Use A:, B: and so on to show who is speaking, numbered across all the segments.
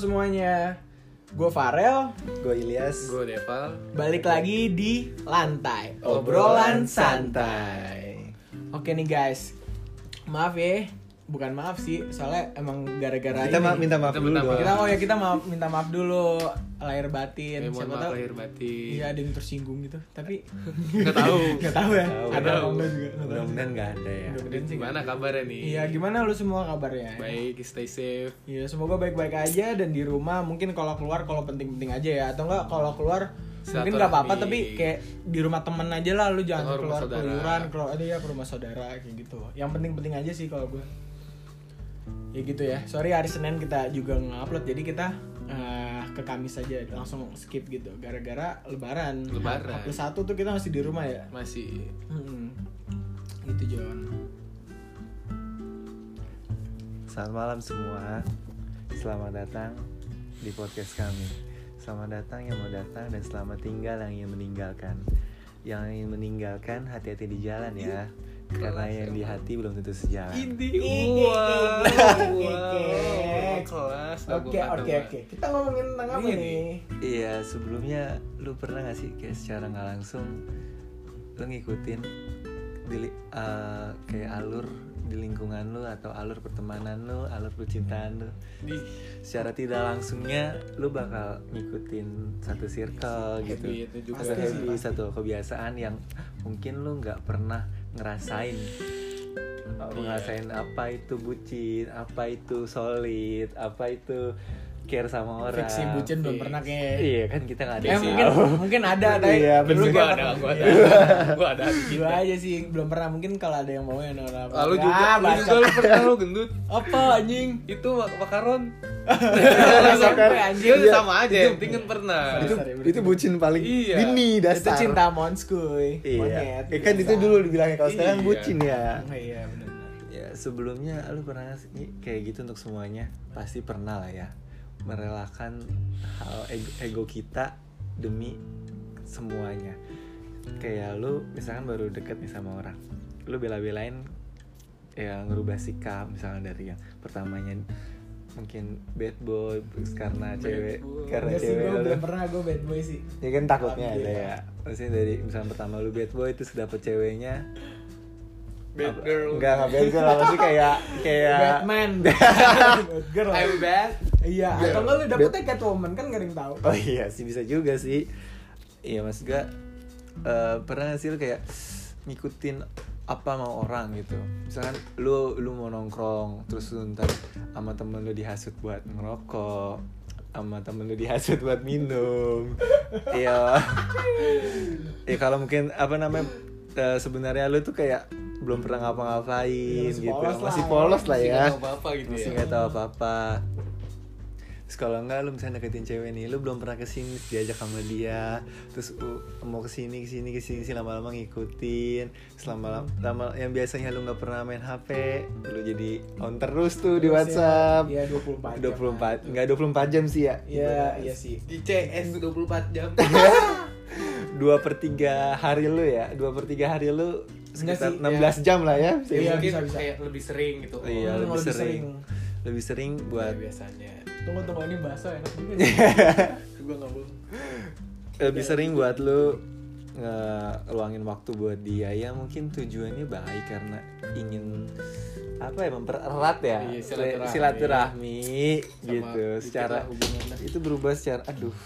A: semuanya, gue Farel,
B: Gue Ilyas.
C: Gue Depal.
A: balik lagi di lantai obrolan
B: Obrolan
A: santai. Oke nih guys, maaf ya, bukan maaf sih, soalnya emang gara-gara
B: Kita
A: ini.
B: ma- minta maaf
C: Kita
B: dulu
C: minta maaf.
A: Kita
B: dong.
A: oh ya kita maaf, minta maaf dulu lahir batin,
C: Ya,
A: siapa
C: mohon maaf
A: tahu.
C: lahir batin.
A: Iya ada yang tersinggung gitu, tapi
C: Nggak tahu.
A: nggak tahu ya.
B: Tahu.
A: Ada
C: Tahu.
A: apa enggak juga? nggak tahu.
B: Mudah-mudahan nggak ada ya.
A: Mudah-mudahan sih nggak
C: Gimana
A: ada.
C: kabarnya nih?
A: Iya gimana lu semua kabarnya?
C: Baik, stay safe.
A: Iya, semoga baik-baik aja dan di rumah mungkin kalau keluar kalau penting-penting aja ya atau enggak kalau keluar mungkin nggak apa-apa
C: Silaturahmi.
A: tapi kayak di rumah temen aja lah lu jangan
C: Atau rumah
A: keluar
C: saudara.
A: keluyuran kalau ada ya ke rumah saudara kayak gitu. Yang penting-penting aja sih kalau gue. Ya gitu ya. Sorry hari Senin kita juga nge-upload jadi kita eh, ke Kamis aja langsung skip gitu gara-gara lebaran. H-
C: Lebaran.
A: H+1 tuh kita masih di rumah ya.
C: Masih.
A: Hmm. Gitu John.
B: Selamat malam semua. Selamat datang di podcast kami. Selamat datang yang mau datang dan selamat tinggal yang ingin meninggalkan. Yang ingin meninggalkan hati-hati di jalan ya. Karena yang di hati belum tentu sejalan.
C: Ini
A: Ini,
C: wow,
A: ini.
C: wow, Iya, kelas. dah
A: Iya. Oke,
C: gua kata,
A: oke,
C: Mbak.
A: oke. Kita ngomongin tentang apa
C: Ini.
A: nih?
B: Iya sebelumnya lu pernah gak sih kayak secara nggak langsung lu ngikutin di, li- eh, kayak alur di lingkungan lu atau alur pertemanan lu, alur percintaan lu.
C: Di-
B: secara tidak langsungnya lu bakal ngikutin satu circle gitu
C: Happy itu juga.
B: Satu
A: Pasti sih,
B: happy,
A: pasti.
B: satu kebiasaan yang mungkin lu nggak pernah ngerasain
A: Oh,
B: Uh,
A: iya.
B: ngerasain apa itu bucin apa itu solid apa itu care sama orang
A: Fiksi bucin belum pernah kayak
B: iya kan kita nggak ada
A: Eh
B: yang
A: mungkin
B: tahu.
A: mungkin ada tapi
B: Iya,
A: dulu
B: bener.
C: Gua
A: gua Iya.
C: ada, gua ada. Gua ada.
A: Gua aja sih belum pernah mungkin kalau ada yang mau ya orang
B: Ah,
C: Lalu juga, lu juga lu pernah lu gendut.
A: apa anjing
C: Itu mak- makaron.
A: SMP anjing
C: Itu sama aja, yang penting kan pernah.
B: itu
A: Sorry, sorry,
B: itu bucin paling
C: Iya.
B: dini
A: itu
B: dasar
A: cinta monskuy
B: iya
A: monyet gitu
B: Eh, kan itu dulu dibilangnya kalau sekarang
C: Iya.
B: bucin ya
A: Oh, iya benar
B: Ya sebelumnya lu pernah nggak sih Nyi, kayak gitu untuk semuanya? Pasti pernah lah ya Merelakan hal ego, ego kita demi semuanya Kayak lu misalkan baru deket nih sama orang Lu bela-belain ya ngerubah sikap misalnya dari yang pertamanya mungkin bad boy terus karena
C: Bad
B: cewek
C: boy.
B: karena
A: Enggak sih
B: cewek
A: gua
B: lu
A: belum pernah gua bad boy sih
B: ya kan takutnya ada
A: Alhamdulillah.
B: ya maksudnya dari misalnya pertama lu bad boy terus dapet ceweknya
C: Bad
B: apa-
C: girl.
B: enggak enggak bad girl apa sih kayak kayak
A: Batman Bad girl
C: I'm bad.
A: iya atau enggak lu dapetnya Catwoman kan gak ada yang tahu
B: oh iya sih bisa juga sih iya mas gak eh, pernah gak sih lu kayak ngikutin apa mau orang gitu misalkan lu lu mau nongkrong terus lu ntar sama temen lu dihasut buat ngerokok sama temen lu dihasut buat minum iya ya kalau mungkin apa namanya eh, sebenarnya lu tuh kayak belum pernah ngapa-ngapain
A: Ya, masih
B: gitu
A: polos lah
B: masih
A: ya.
B: polos lah
C: Masih
B: ya
C: nggak tahu apa-apa gitu
B: masih
A: Iya.
C: ya.
B: nggak tahu apa-apa terus kalau enggak lu misalnya deketin cewek nih lu belum pernah kesini terus diajak sama dia terus uh, mau kesini kesini kesini kesini lama-lama ngikutin selama lama yang biasanya lu nggak pernah main hp lu jadi on terus tuh di
A: Terus ya,
B: WhatsApp
A: iya 24 jam
B: 24 nggak 24 jam sih ya
A: iya iya sih
C: Di CS 24 jam.
B: dua per tiga hari lu ya dua per tiga hari lu
A: Enggak
B: sekitar
A: sih,
B: 16 jam lah ya
A: Iya,
C: Ya, mungkin
A: bisa, bisa.
C: kayak lebih sering gitu.
B: Iya,
A: Hmm,
B: lebih,
A: lebih
B: sering.
A: sering.
B: lebih sering
C: Buat
B: buat
C: biasanya.
A: tunggu tunggu ini bahasa enak juga sih. gua nggak boleh
B: lebih
C: Iya,
B: sering
C: gitu.
B: buat lu ngeluangin waktu buat dia ya mungkin tujuannya baik karena ingin apa ya mempererat ya
C: Iya, silaturahmi.
B: silaturahmi
C: Sama
B: gitu
C: dikit lah
B: secara
C: hubungannya.
B: itu berubah secara aduh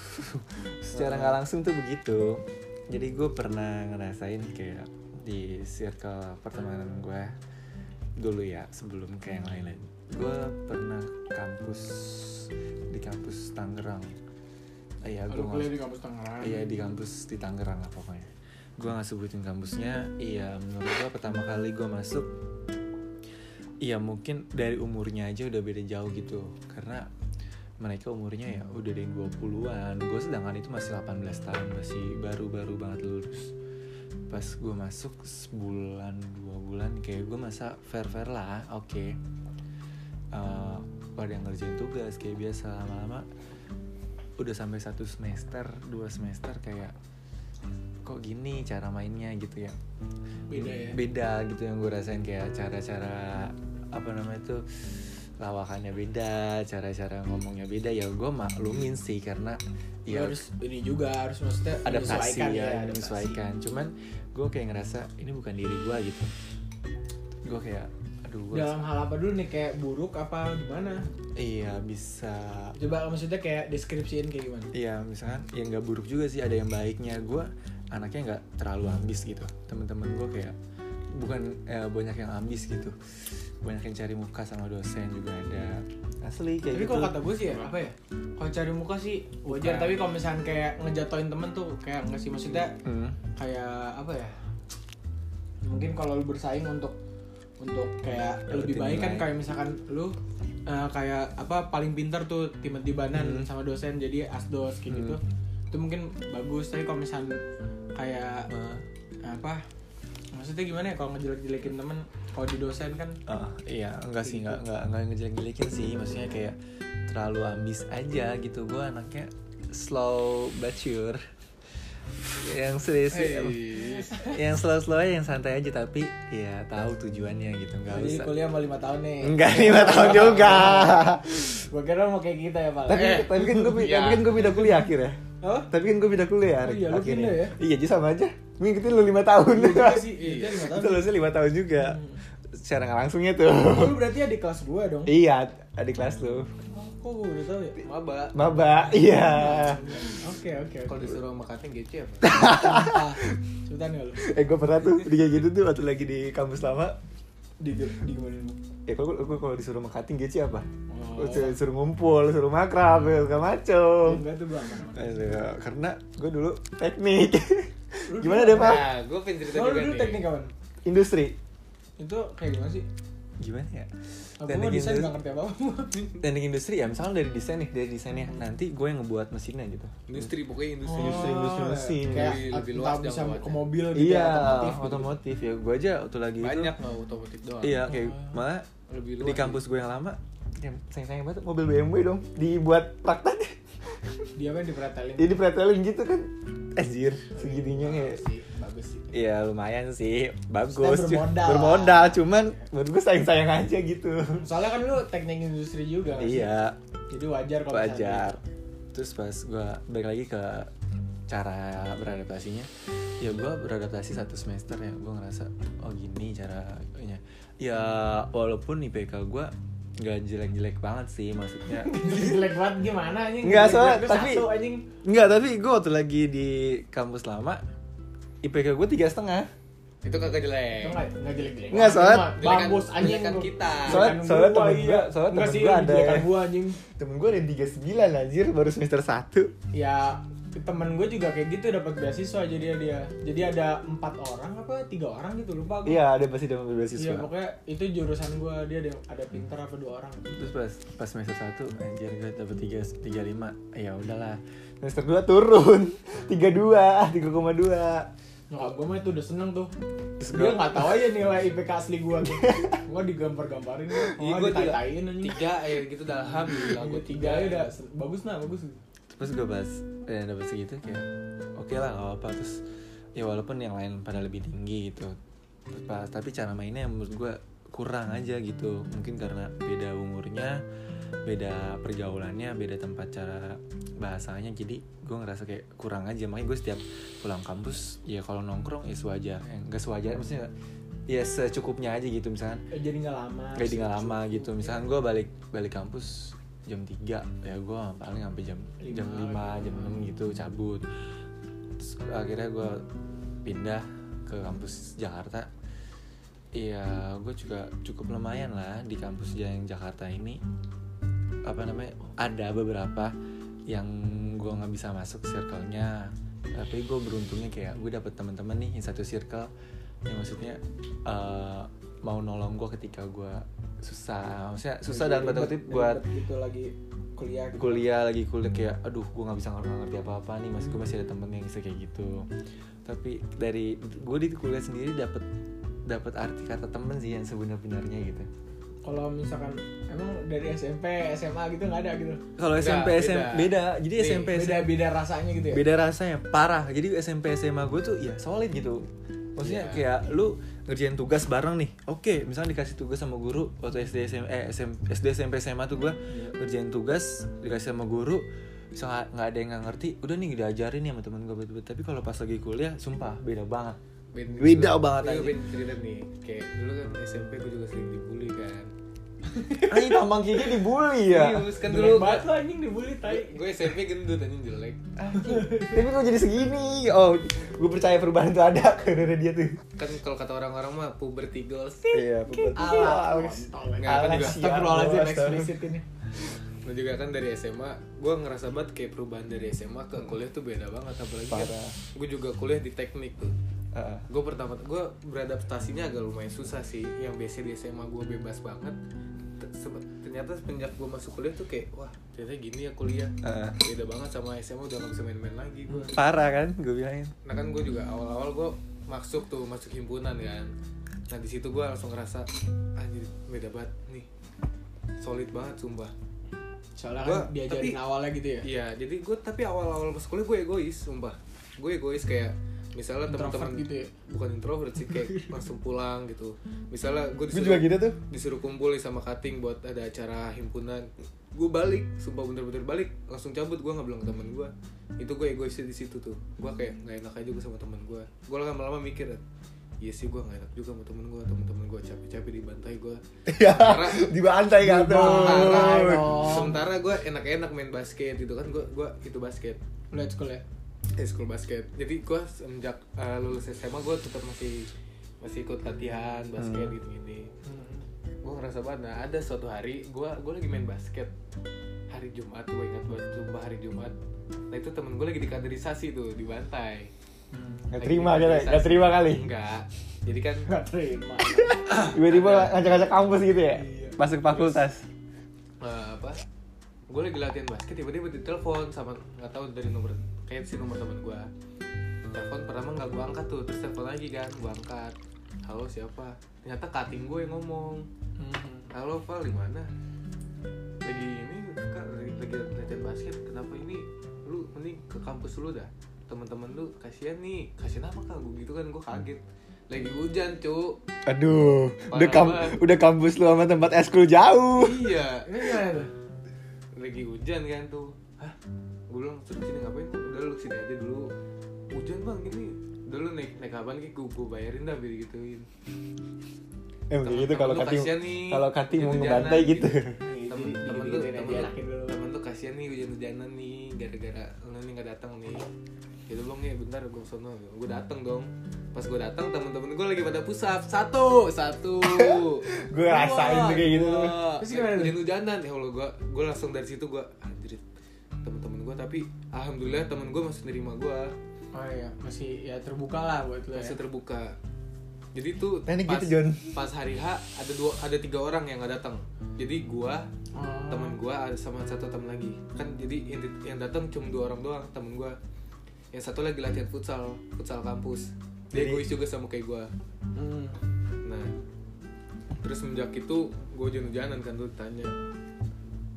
B: secara nggak langsung tuh begitu jadi gue pernah ngerasain kayak di circle pertemanan gue dulu ya sebelum ke yang lain-lain gue pernah kampus di kampus Tangerang iya gue
A: Aduh, Oh, kuliah di kampus Tangerang
B: Iya di kampus di Tangerang lah pokoknya. Gue nggak sebutin kampusnya. Iya menurut gue pertama kali gue masuk, iya mungkin dari umurnya aja udah beda jauh gitu. Karena mereka umurnya ya udah dari 20-an. Gue sedangkan itu masih 18 tahun masih baru-baru banget lulus. Pas gue masuk sebulan dua bulan kayak gue masa fair fair lah, oke. Eh, pada ngerjain tugas kayak biasa lama-lama udah sampai satu semester dua semester kayak kok gini cara mainnya gitu ya
A: Beda ya?
B: beda gitu yang gue rasain kayak cara-cara apa namanya tuh lawakannya beda cara-cara ngomongnya beda ya gue maklumin sih karena
A: Lu
B: ya
A: harus ini juga harus maksudnya
B: adaptasi
A: menyesuaikan
B: ya,
A: adaptasi.
B: menyesuaikan cuman gue kayak ngerasa ini bukan diri gue gitu gue kayak aduh gue
A: dalam hal apa dulu nih kayak buruk apa gimana
B: iya bisa
A: coba maksudnya kayak deskripsiin kayak gimana
B: Iya misalkan yang nggak buruk juga sih ada yang baiknya gue anaknya nggak terlalu ambis gitu temen-temen gue kayak bukan eh, banyak yang ambis gitu banyak yang cari muka sama dosen juga ada asli kayak
A: tapi
B: gitu
A: kalau kata gue sih ya, apa ya kalau cari muka sih wajar
B: Bukan.
A: tapi kalau misalkan kayak ngejatoin temen tuh kayak nggak sih maksudnya
B: Hmm.
A: kayak apa ya mungkin kalau lu bersaing untuk untuk kayak
B: Dapetin
A: lebih baik kan
B: nilai.
A: kayak misalkan lu eh, kayak apa paling pintar tuh tiba-tiba
B: Hmm.
A: nan sama dosen jadi asdos kayak
B: Hmm.
A: gitu itu mungkin bagus tapi kalau misalkan kayak
B: Eh,
A: apa maksudnya gimana ya kalau ngejelek-jelekin temen kalau di dosen kan
B: ah, iya enggak sih enggak enggak enggak ngejelek-jelekin sih maksudnya kayak terlalu ambis aja gitu gue anaknya slow but sure yang serius yang slow slow aja yang santai aja tapi ya tahu tujuannya gitu nggak
A: jadi
B: usah
A: kuliah mau lima tahun nih
B: Enggak lima tahun juga.
A: gua kira mau kayak kita ya pak
B: tapi
C: Eh,
B: tapi kan gue
C: iya.
B: tapi kan gue pindah kuliah akhirnya.
A: oh
B: Tapi kan gue pindah kuliah
A: Ya. Oh iya, lu
B: akhirnya.
A: pindah ya?
B: Iya jadi sama aja. Ngikutin lu lima tahun.
A: iya sih Hmm. iya lima
B: Itu
A: tahun
B: lu lima tahun juga. Secara nggak langsungnya tuh.
A: Oh, lu berarti adik kelas gua dong
B: iya adik kelas lu.
A: kok gua udah tahu ya
C: Maba.
B: Maba. Iya.
A: Oke oke.
C: Kalau disuruh sama gitu Katin gece apa?
A: Cepetan nggak lu?
B: Eh gue pernah tuh dia gitu tuh waktu lagi di kampus lama.
A: Di di gimana lu?
B: Ya kalau gue kalau disuruh makating gece apa?
A: Oh. Iya,
B: Suruh, suruh ngumpul, suruh makrab, ya, segala macem.
A: Enggak tuh bang.
B: Aduh, karena gue dulu teknik.
A: Lu
B: Gimana
A: dulu
B: deh pak?
C: Nah, gue pengen cerita
A: Kalau
C: juga
A: dulu
C: nih.
A: teknik kawan,
B: Industri.
A: itu kayak gimana sih?
B: Gimana ya?
A: Aku
B: Teknik
A: mah desain
B: industri-
A: nggak ngerti apa apa.
B: Teknik industri ya, misalnya dari desain nih, dari desainnya nanti gue yang ngebuat mesinnya gitu.
C: Industri pokoknya industri.
B: Industri, industri mesin.
A: Oh, Kayak
C: Lebih- lebih
A: entah
C: luas
A: bisa
C: jangkauannya.
A: ke mobil gitu.
B: iya,
A: otomotif
B: otomotif,
A: gitu. Oh.
B: ya. Gue aja waktu lagi
C: Banyak
B: itu.
C: nggak otomotif doang.
B: Iya, kayak malah
C: Lebih luas. gitu.
B: di kampus gue yang lama, yang Ya, sayang-sayang banget mobil BMW dong, dibuat prakteknya.
A: Dia kan dipretelin.
B: Jadi pretelin gitu kan. Anjir, segininya ya. kayak
A: Bagus sih, bagus sih.
B: Iya lumayan sih, bagus.
A: Maksudnya bermodal.
B: bermodal cuman menurut gue sayang-sayang aja gitu.
A: Soalnya kan lu teknik industri juga. nggak sih?
B: Iya,
A: Jadi wajar kalau
B: wajar terus pas gue balik lagi ke cara beradaptasinya ya gue beradaptasi satu semester ya gue ngerasa oh gini caranya ya walaupun IPK gue nggak jelek-jelek banget sih maksudnya
A: misalnya- Jelek banget gimana anjing?
B: Nggak,
A: Jelek-jelek
B: soalnya
A: lu
B: tapi-
A: satu anjing.
B: nggak tapi gue waktu lagi di kampus lama IPK gue tiga setengah
C: Itu kagak jelek.
A: Itu nggak nggak jelek-jelek.
B: Nggak, soalnya-
A: Cuma Bagus anjing.
C: Jelekan kita.
B: Soalnya-
A: Jelekan
B: soalnya
A: gua,
B: temen
A: iya.
B: gua- soalnya
A: Nggak
B: temen
A: sih,
B: gua ada
A: jelekan
B: ya.
A: gua anjing.
B: temen gue ada yang tiga sembilan anjir baru semester satu
A: ya temen gue juga kayak gitu dapat beasiswa jadi dia jadi ada empat orang apa tiga orang gitu lupa gue
B: iya ada pasti ada
A: Iya,
B: beasiswa
A: pokoknya itu jurusan gue dia ada ada pinter apa dua orang
B: terus pas pas semester satu anjir gue dapet tiga tiga lima ya udahlah semester dua turun tiga dua tiga koma dua
A: nyokap gue mah itu udah seneng tuh
B: Terus
A: dia
B: gua-
A: nggak tahu aja nilai IPK asli gue tuh gue digambar-gambarin
C: Iya,
A: gue
C: gua tiga-
A: ditatain anjing
C: Tiga ya gitu dah alhamdulillah.
A: gue tiga ya udah se- bagus nah bagus
B: terus gue pas eh, dapet segitu kayak oke lah gak apa terus ya walaupun yang lain pada lebih tinggi gitu Terus pas tapi cara mainnya yang menurut gue kurang aja gitu mungkin karena beda umurnya beda pergaulannya beda tempat cara bahasanya jadi gue ngerasa kayak kurang aja makanya gue setiap pulang kampus ya kalau nongkrong ya sewajar enggak sewajar maksudnya ya secukupnya aja gitu misalnya
A: Eh, jadi nggak lama
B: kayak tinggal lama gitu misalkan gue balik balik kampus jam 3 ya gue paling sampai jam
A: Lima.
B: jam 5 jam 6 gitu cabut Terus akhirnya gue pindah ke kampus Jakarta Iya, gue juga cukup lumayan lah di kampus yang Jakarta ini. Apa namanya? Ada beberapa yang gue nggak bisa masuk circle-nya. Tapi gue beruntungnya kayak gue dapet teman-teman nih yang satu circle yang maksudnya eh, mau nolong gue ketika gue susah. Maksudnya susah dalam tanda kutip buat
A: Ribet gitu lagi kuliah gitu.
B: kuliah lagi kuliah kayak aduh gue nggak bisa nggak ngerti apa apa nih mas gue masih ada temen yang bisa kayak gitu tapi dari gue di kuliah sendiri dapat dapat arti kata temen sih yang sebenar-benarnya gitu
A: kalau misalkan emang dari SMP SMA gitu nggak ada gitu
B: kalau
C: Nggak,
B: SMP
C: beda.
B: SMA beda jadi
C: Nih,
B: SMP
A: beda
B: SMA
A: beda rasanya gitu
C: Iya.
A: ya
B: beda rasanya parah jadi SMP SMA gue tuh ya solid gitu maksudnya
C: Iya.
B: kayak lu ngerjain tugas bareng nih oke misalnya dikasih tugas sama guru waktu SD SM, eh, SM SD SMP SMA tuh gue
C: Iya.
B: ngerjain tugas dikasih sama guru bisa nggak- nggak ada yang nggak ngerti udah nih diajarin nih sama temen gue betul tapi kalau pas lagi kuliah sumpah beda banget Beda Iya. banget
C: Ini
B: aja.
C: Iya, beda cerita nih Kayak dulu kan SMP gue juga sering dibully kan
B: Anjing tambang gigi dibulli ya
C: Serius, kan
A: Jelek
C: dulu
A: banget lo anjing dibully tai.
C: Gue SMP gendut anjing jelek
B: tapi kok jadi segini oh gue percaya perubahan tuh ada karena dia tuh
C: Kan kalau kata orang-orang mah puberty girls
B: iya betul
A: Ala,
C: Nggak, kan juga.
A: Astagfirullahaladzim eksplisit ini.
C: Nah juga kan dari SMA, gue ngerasa banget kayak perubahan dari SMA ke kuliah tuh beda banget apalagi
B: Parah.
C: gue juga kuliah di teknik tuh. Gue pertama gue beradaptasinya agak lumayan susah sih. Yang biasa di SMA gue bebas banget. Te- sebe- Ternyata semenjak gue masuk kuliah tuh kayak wah ternyata gini ya kuliah.
B: Heeh.
C: Beda banget sama SMA udah gak bisa main-main lagi gue.
B: parah kan gue bilangin
C: Nah kan gue juga awal-awal gue masuk tuh masuk himpunan kan. Nah di situ gue langsung ngerasa anjir beda banget nih. Solid banget sumpah.
A: Soalnya
C: Gua-
A: kan diajarin
C: tapi-
A: awalnya gitu ya.
C: Iya, jadi gue tapi awal-awal masuk kuliah gue egois, sumpah. Gue egois kayak misalnya
A: Introvert
C: teman-teman
A: gitu ya?
C: bukan introvert sih kayak langsung pulang gitu. Misalnya gue
B: gue
C: disuruh
B: juga gitu tuh
C: disuruh kumpul nih sama kating buat ada acara himpunan. Gue balik, sumpah bener-bener balik, langsung cabut gue nggak bilang ke temen gue. Itu gue egoisnya di situ tuh. Gue kayak nggak enak aja gue sama temen gue. Gue lama-lama mikir, iya sih gue nggak enak juga sama temen gue, temen-temen gue capek-capek dibantai gue.
B: ya
C: Karena
B: dibantai kan
A: Dibantai
B: tuh
A: dong.
C: sementara gue enak-enak main basket gitu kan gue gue itu basket
A: Lu liat sekolah ya?
C: eh school basket jadi gue semenjak uh, lulus SMA gue tetap masih masih ikut latihan basket
B: Hmm.
C: gitu gini
A: Hmm.
C: gue ngerasa banget nah ada suatu hari gue gue lagi main basket hari Jumat gue ingat banget sumpah hari Jumat nah itu temen gue lagi di kaderisasi tuh di bantai
B: Gak terima kali, gak terima kali
C: enggak jadi kan
A: Gak terima.
B: Tiba-tiba ngajak-ngajak kampus gitu ya
A: Iya.
B: Masuk fakultas
C: eh, apa gue lagi latihan basket tiba-tiba ditelepon sama nggak tahu dari nomor kayak si nomor teman gue telepon pertama nggak gue angkat tuh terus telepon lagi kan gue angkat halo siapa ternyata kating gue yang ngomong
A: Hmm.
C: halo Val di mana lagi ini kak lagi, lagi latihan basket kenapa ini lu mending ke kampus dulu dah teman-teman lu kasihan nih kasihan apa kak gue gitu kan gue kaget lagi hujan cu
B: Aduh, udah, kam
C: Parah banget.
B: udah kampus lu sama tempat eskul jauh
C: iya
A: Ini gimana tuh?
C: lagi hujan kan tuh hah gue bilang terus sini ngapain udah lu sini aja dulu hujan bang ini udah lu naik naik kapan ki gue gue bayarin dah biar gituin
B: Emang kayak gitu
C: Temen-temen
B: kalau
C: lu
B: Kati
C: kasihan nih,
B: Kalau Kati mau
C: hujan-hujanan
B: ngebantai gitu
C: temen
A: Iya, Jadi,
C: temen lu
A: digituin aja,
C: temen lu
A: enakin dulu.
C: temen lu kasihan nih hujan hujanan nih gara-gara lu nih nggak datang nih gitu bang ya bentar gue sono gue datang dong pas gue datang temen-temen gue lagi pada pusap satu satu
B: Gue rasain tuh kayak gitu tuh.
A: Terus gimana tuh?
C: hujan hujanan ya allah gue gue langsung dari situ gue anjir temen-temen gue tapi alhamdulillah temen gue masih nerima gue
A: Oh iya, masih ya terbuka lah buat lu ya.
C: masih terbuka jadi tuh
B: Nah, ini gitu, Jon.
C: pas hari H ada dua ada tiga orang yang nggak datang jadi gue
A: Oh.
C: temen gua ada sama satu temen lagi kan jadi yang, di- yang datang cuma dua orang doang temen gua yang satu lagi latihan futsal futsal kampus dia
B: Jadi-
C: egois juga sama kayak gua
A: Hmm.
C: nah terus semenjak itu gua hujan-hujanan kan tuh tanya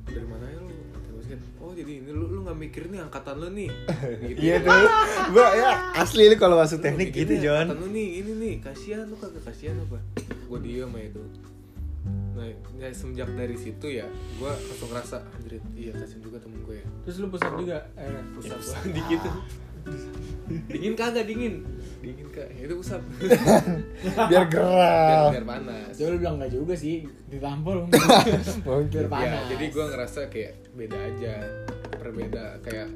C: dari mana ya lu Kata basket oh jadi ini lu lu nggak mikir nih angkatan lu nih Gitu.
B: Iya tuh Gue ya asli lu kalau masuk
C: Lu
B: teknik
C: mikirin
B: gitu
C: ya, angkatan
B: John
C: lu nih ini nih kasihan lu kagak kasihan apa gue diem aja itu nah ya, semenjak dari situ ya gua langsung ngerasa anjir iya kasihan juga temen gue ya
A: Terus lu pusat juga? Eh,
C: usap dikit dingin kagak dingin dingin kak Ya, itu usap
B: Biar
C: biar,
B: gerak
C: biar panas
A: Jadi lu bilang gak juga sih, ditampol. Iya,
B: Mungkin
A: Biar
C: ya
A: panas.
C: jadi gue ngerasa kayak beda aja perbeda kayak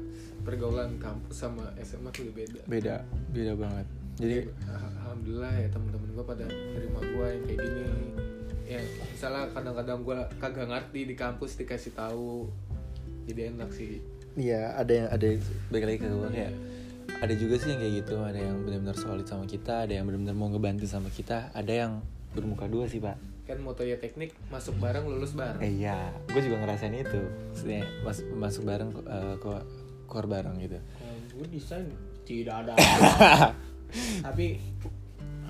C: pergaulan kampus sama SMA tuh udah beda
B: Beda, beda banget Jadi
C: Al- alhamdulillah ya temen-temen gue pada terima gue yang kayak gini ya misalnya kadang-kadang gue kagak ngerti di kampus dikasih tahu jadi enak sih
B: Iya, ada yang ada yang- balik lagi ke gue kayak ada juga sih yang kayak gitu, ada yang benar-benar solid sama kita, ada yang benar-benar mau ngebantu sama kita, ada yang bermuka dua sih pak.
C: kan motonya teknik masuk bareng lulus bareng
B: Eh, iya, gue juga ngerasain itu. Maksudnya mas- masuk bareng eh, ko- keluar bareng gitu.
A: Kalau gue desain tidak ada. Tapi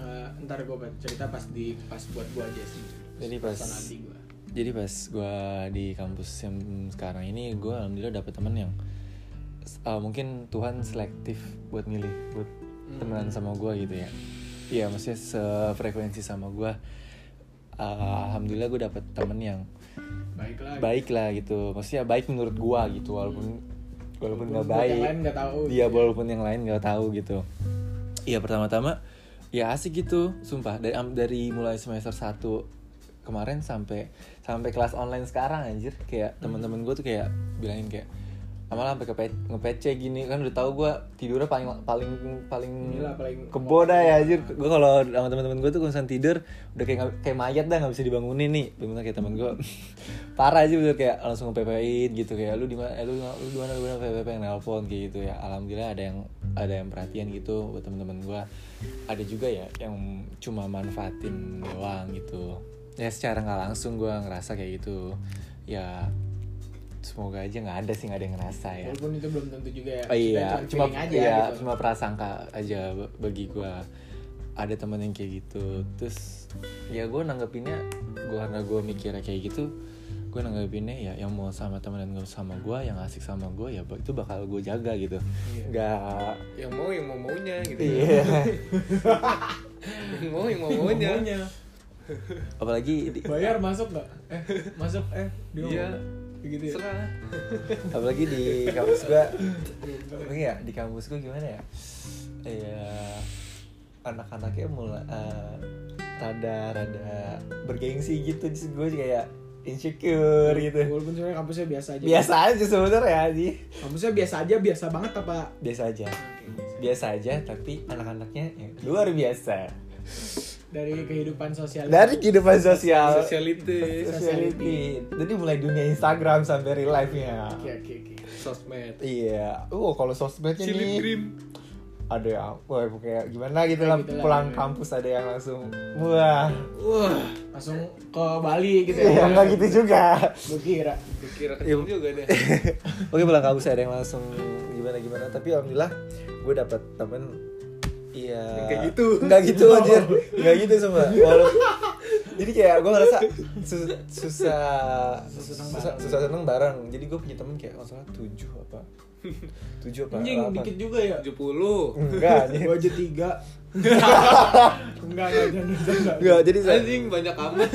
A: eh, ntar gue cerita pas di pas buat gue aja sih.
B: Jadi pas-
A: nanti gue.
B: Jadi pas gue di kampus yang sekarang ini, gue alhamdulillah dapet teman yang eh, mungkin Tuhan selektif buat milih, buat temenan sama gue gitu ya. Iya maksudnya sefrekuensi sama gue Alhamdulillah gue dapet temen yang
A: Baiklah.
B: baik lah gitu Maksudnya baik menurut gue gitu Walaupun
A: Walaupun
B: walaupun gak
A: buat
B: baik
A: yang lain nggak tahu. gitu ya.
B: Iya walaupun yang lain gak tahu gitu Iya pertama-tama Ya asik gitu Sumpah dari, am- dari mulai semester 1 Kemarin sampai sampai kelas online sekarang anjir Kayak
A: Hmm.
B: teman-teman gue tuh kayak bilangin kayak Amal sampai ke ngepece gini kan udah tahu gue tidurnya paling paling paling
A: Gila, paling-
B: keboda ya anjir gue kalau sama teman-teman gue tuh konsen tidur udah kayak nggak- kayak mayat dah nggak bisa dibangunin nih bener kayak teman gue parah aja bener kayak langsung ngepepein gitu kayak lu di mana eh, lu lu di mana lu di mana pepe yang nelpon kayak gitu ya alhamdulillah ada yang ada yang perhatian gitu buat teman-teman gue ada juga ya yang cuma manfaatin doang gitu ya secara nggak langsung gue ngerasa kayak gitu ya semoga aja nggak ada sih nggak ada yang ngerasa ya
A: Walaupun itu belum tentu juga ya.
B: Oh, iya,
A: Dan
B: cuma
A: feeling aja
B: iya,
A: gitu.
B: cuma prasangka aja b- bagi gua. Ada temen yang kayak gitu. Terus ya gua nanggepinnya gua karena gua mikirnya kayak gitu, gua nanggepinnya ya yang mau sama temen dan gak sama gua, yang asik sama gua ya itu bakal gua jaga gitu.
A: Iya.
B: Enggak
C: yang mau yang mau maunya gitu
B: Iya.
C: yang mau yang mau maunya
A: Maunya.
B: apalagi di,
A: Bayar masuk nggak? Eh masuk eh dia
C: Iya.
A: ngomong. Gitu ya.
C: serah
B: apalagi di kampus gua
A: Gitu.
B: Tapi ya di kampus gue gimana ya? Iya anak-anaknya mulai eh, rada-rada bergengsi gitu terus gue kayak insecure gitu.
A: Walaupun sebenarnya kampusnya biasa aja.
B: Biasa aja sebenarnya sih.
A: Kampusnya biasa aja, biasa banget apa?
B: Biasa aja. Biasa aja tapi anak-anaknya ya, luar biasa.
A: Dari kehidupan sosial.
B: Dari kehidupan sosial
C: sosialitis
B: sociality. Jadi mulai dunia Instagram sampai real life-nya.
A: Oke oke oke.
C: sosmed
B: Iya. Oh, kalau sosmednya nih.
C: Cilim
B: ada yang wah kayak gimana gitu
A: Kayak
B: lah
A: gitu lah,
B: pulang
A: ya.
B: kampus ada yang langsung wah
A: Wah, langsung ke Bali gitu
B: ya
A: ya.
B: nggak gitu juga
A: Gue kira.
C: dikira kecil juga deh
B: oke pulang kampus ada yang langsung gimana gimana tapi alhamdulillah gue dapet temen iya
C: Yang kayak gitu.
B: nggak gitu anjir nggak gitu semua Walau- jadi kayak gue ngerasa sus- susah
A: Susah seneng
B: susah,
A: bareng.
B: susah seneng bareng jadi gue punya temen kayak masalah tujuh apa tujuh apa
A: Anjing
B: delapan.
A: dikit juga ya.
C: 70
B: enggak anjir
A: Gue aja tiga. Enggak enggak jangan jangan.
B: enggak jadi
C: anjing banyak amat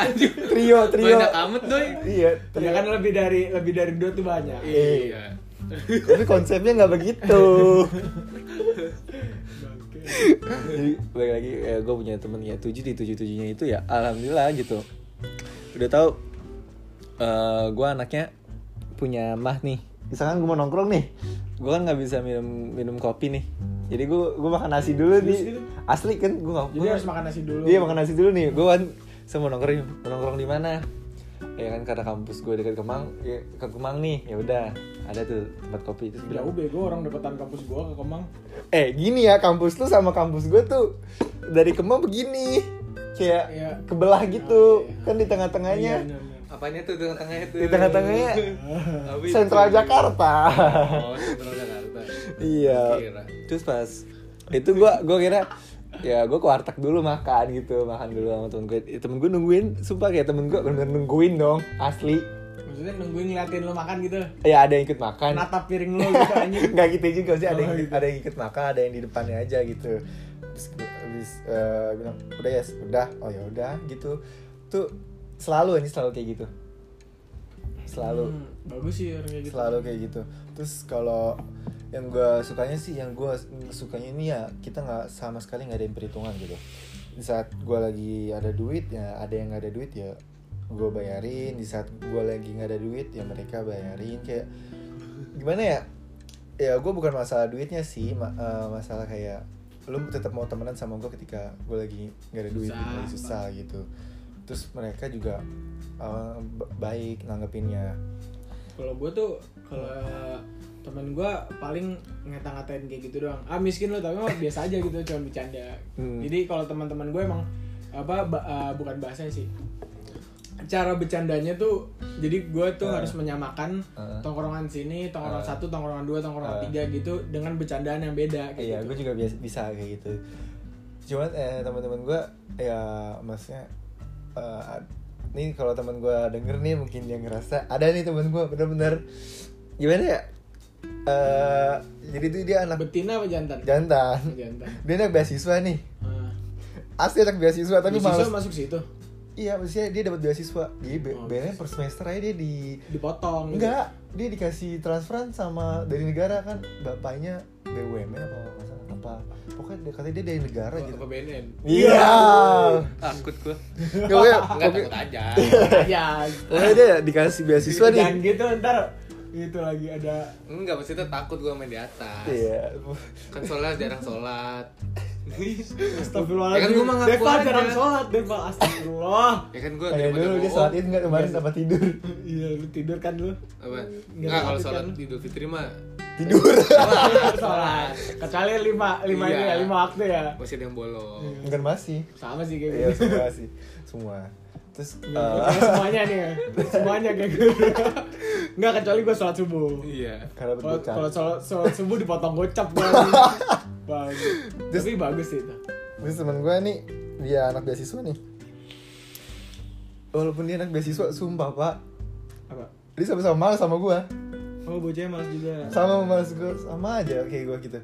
C: anjing
B: trio trio
C: banyak amat doi
B: iya trio
A: Ya kan lebih dari lebih dari dua tuh banyak.
B: Iya. tapi konsepnya nggak begitu
A: Oke.
B: jadi balik lagi gue punya temen ya tujuh di tujuh tujuhnya itu ya alhamdulillah gitu udah tahu eh gue anaknya punya mah nih misalkan gue mau nongkrong nih gue kan nggak bisa minum minum kopi nih jadi gue gue makan nasi dulu
A: Serius
B: nih
A: gitu?
B: asli kan gue nggak
A: Jadi harus makan nasi dulu.
B: Iya makan nasi dulu nih. Gue kan saya mau nongkrong, mau nongkrong di mana? Ya kan karena kampus gue dekat Kemang, ya, ke Kemang nih. Ya udah, ada tuh tempat kopi terus bilang,
A: Jauh bego Ya orang deketan kampus gua ke Kemang.
B: "Eh, gini ya kampus lu sama kampus gue tuh dari Kemang begini." Kayak
A: Iya.
B: kebelah gitu.
A: iya.
B: Kan di tengah-tengahnya.
A: Iya, iya, iya.
C: apanya tuh tengah-tengahnya tuh
B: Di tengah-tengahnya
C: Apa itu?
B: sentral Jakarta.
C: oh sentral Jakarta
B: iya.
C: Kira.
B: Terus pas itu gua gua kira ya gua ke warteg dulu makan gitu makan dulu sama temen gue temen gue nungguin sumpah kayak temen gue bener nungguin dong asli
A: Maksudnya nungguin ngeliatin lo makan gitu.
B: ya ada yang ikut makan
A: Natap piring lo gitu anjing.
B: nggak gitu juga sih ada yang
A: Oh, gitu.
B: ada yang ikut makan ada yang di depannya aja gitu terus gue- habis eh, bilang udah ya udah oh ya udah gitu tuh selalu ini selalu kayak gitu selalu
A: Hmm, bagus sih orang kayak gitu.
B: selalu kayak gitu terus kalau yang gue sukanya sih yang gue sukanya ini ya kita nggak sama sekali nggak ada yang perhitungan gitu di saat gue lagi ada duit ya ada yang nggak ada duit ya gue bayarin di saat gue lagi nggak ada duit ya mereka bayarin kayak gimana ya ya gue bukan masalah duitnya sih ma- eh, masalah kayak lu tetap mau temenan sama gue ketika gue lagi nggak ada duit
A: Susah.
B: lagi susah gitu terus mereka juga eh, ba- baik nanggepinnya
A: Kalau gua tuh kalau eh, temen gua paling ngata-ngatain kayak gitu doang. Ah miskin lo tapi mah biasa aja gitu cuma bercanda.
B: Hmm.
A: Jadi kalau teman-teman gue emang apa ba- eh, bukan bahasanya sih. Cara bercandanya tuh jadi gue tuh
B: Eh.
A: harus menyamakan
B: Eh.
A: tongkrongan sini, tongkrongan
B: Eh.
A: satu, tongkrongan dua, tongkrongan
B: Eh.
A: tiga gitu dengan bercandaan yang beda kayak
B: Iya,
A: gitu.
B: gue juga biasa bisa kayak gitu. Cuman eh, teman-teman gue, ya maksudnya, eh, ad- nih kalau teman gue denger nih mungkin dia ngerasa ada nih teman gue bener-bener gimana ya eh jadi tuh dia anak
A: Betina apa jantan?
B: Iya. jantan
A: Jantan.
B: dia anak beasiswa nih
A: Ah.
B: asli anak beasiswa tapi
A: Beasiswa
B: males
A: masuk situ
B: iya maksudnya dia dapat beasiswa jadi be-
A: Oh,
B: bayarnya per semester aja dia di
A: dipotong. gitu.
B: enggak dia dikasih transferan sama dari negara kan bapaknya BUMN apa nggak salah, apa pokoknya dia katanya dia dari negara
C: Apa
B: gitu
C: apa BNN?
B: iya
C: Takut gua.
B: Nggak, pokoknya-
C: Enggak takut aja.
A: Ya.
B: pokoknya dia dikasih beasiswa nih
A: Dan gitu ntar itu lagi ada
C: Enggak maksudnya takut gua main di atas.
B: iya
C: Kan soalnya jarang sholat.
A: Astagfirullahaladzim.
C: Ya kan gua mah ngaku
A: Deva
C: aja.
A: jarang sholat, Deva astagfirullah.
C: ya kan gua
B: kayak
C: daripada
B: Iya, dulu dia
C: bohong.
B: sholat id nggak kemarin apa tidur
A: Iya, lu tidur kan lu.
C: apa?
B: Iya.
A: Nggak
C: Enggak kalau
A: takut
C: sholat
A: kan?
C: Idul Fitri mah
B: tidur
A: sholat. Kecuali lima lima
C: Iya.
A: ini ya, lima waktu ya.
C: masih ada yang bolong.
B: bukan masih
A: Sama sih kayak
B: iya
A: gitu.
B: semua sih semua terus
A: Kayak
B: eh,
A: semuanya nih ya. semuanya kayak gitu nggak kecuali gue sholat subuh
C: Iya.
B: karena
A: kalau
B: berdua
A: kalau sholat, sholat subuh dipotong gocap gue
B: Terus-
A: tapi bagus sih itu
B: Terus temen gue nih Dia anak beasiswa nih Walaupun dia anak beasiswa Sumpah pak
A: apa
B: Dia sama-sama males sama gue
A: oh bocahnya males juga
B: Sama males gue Sama aja kayak gue gitu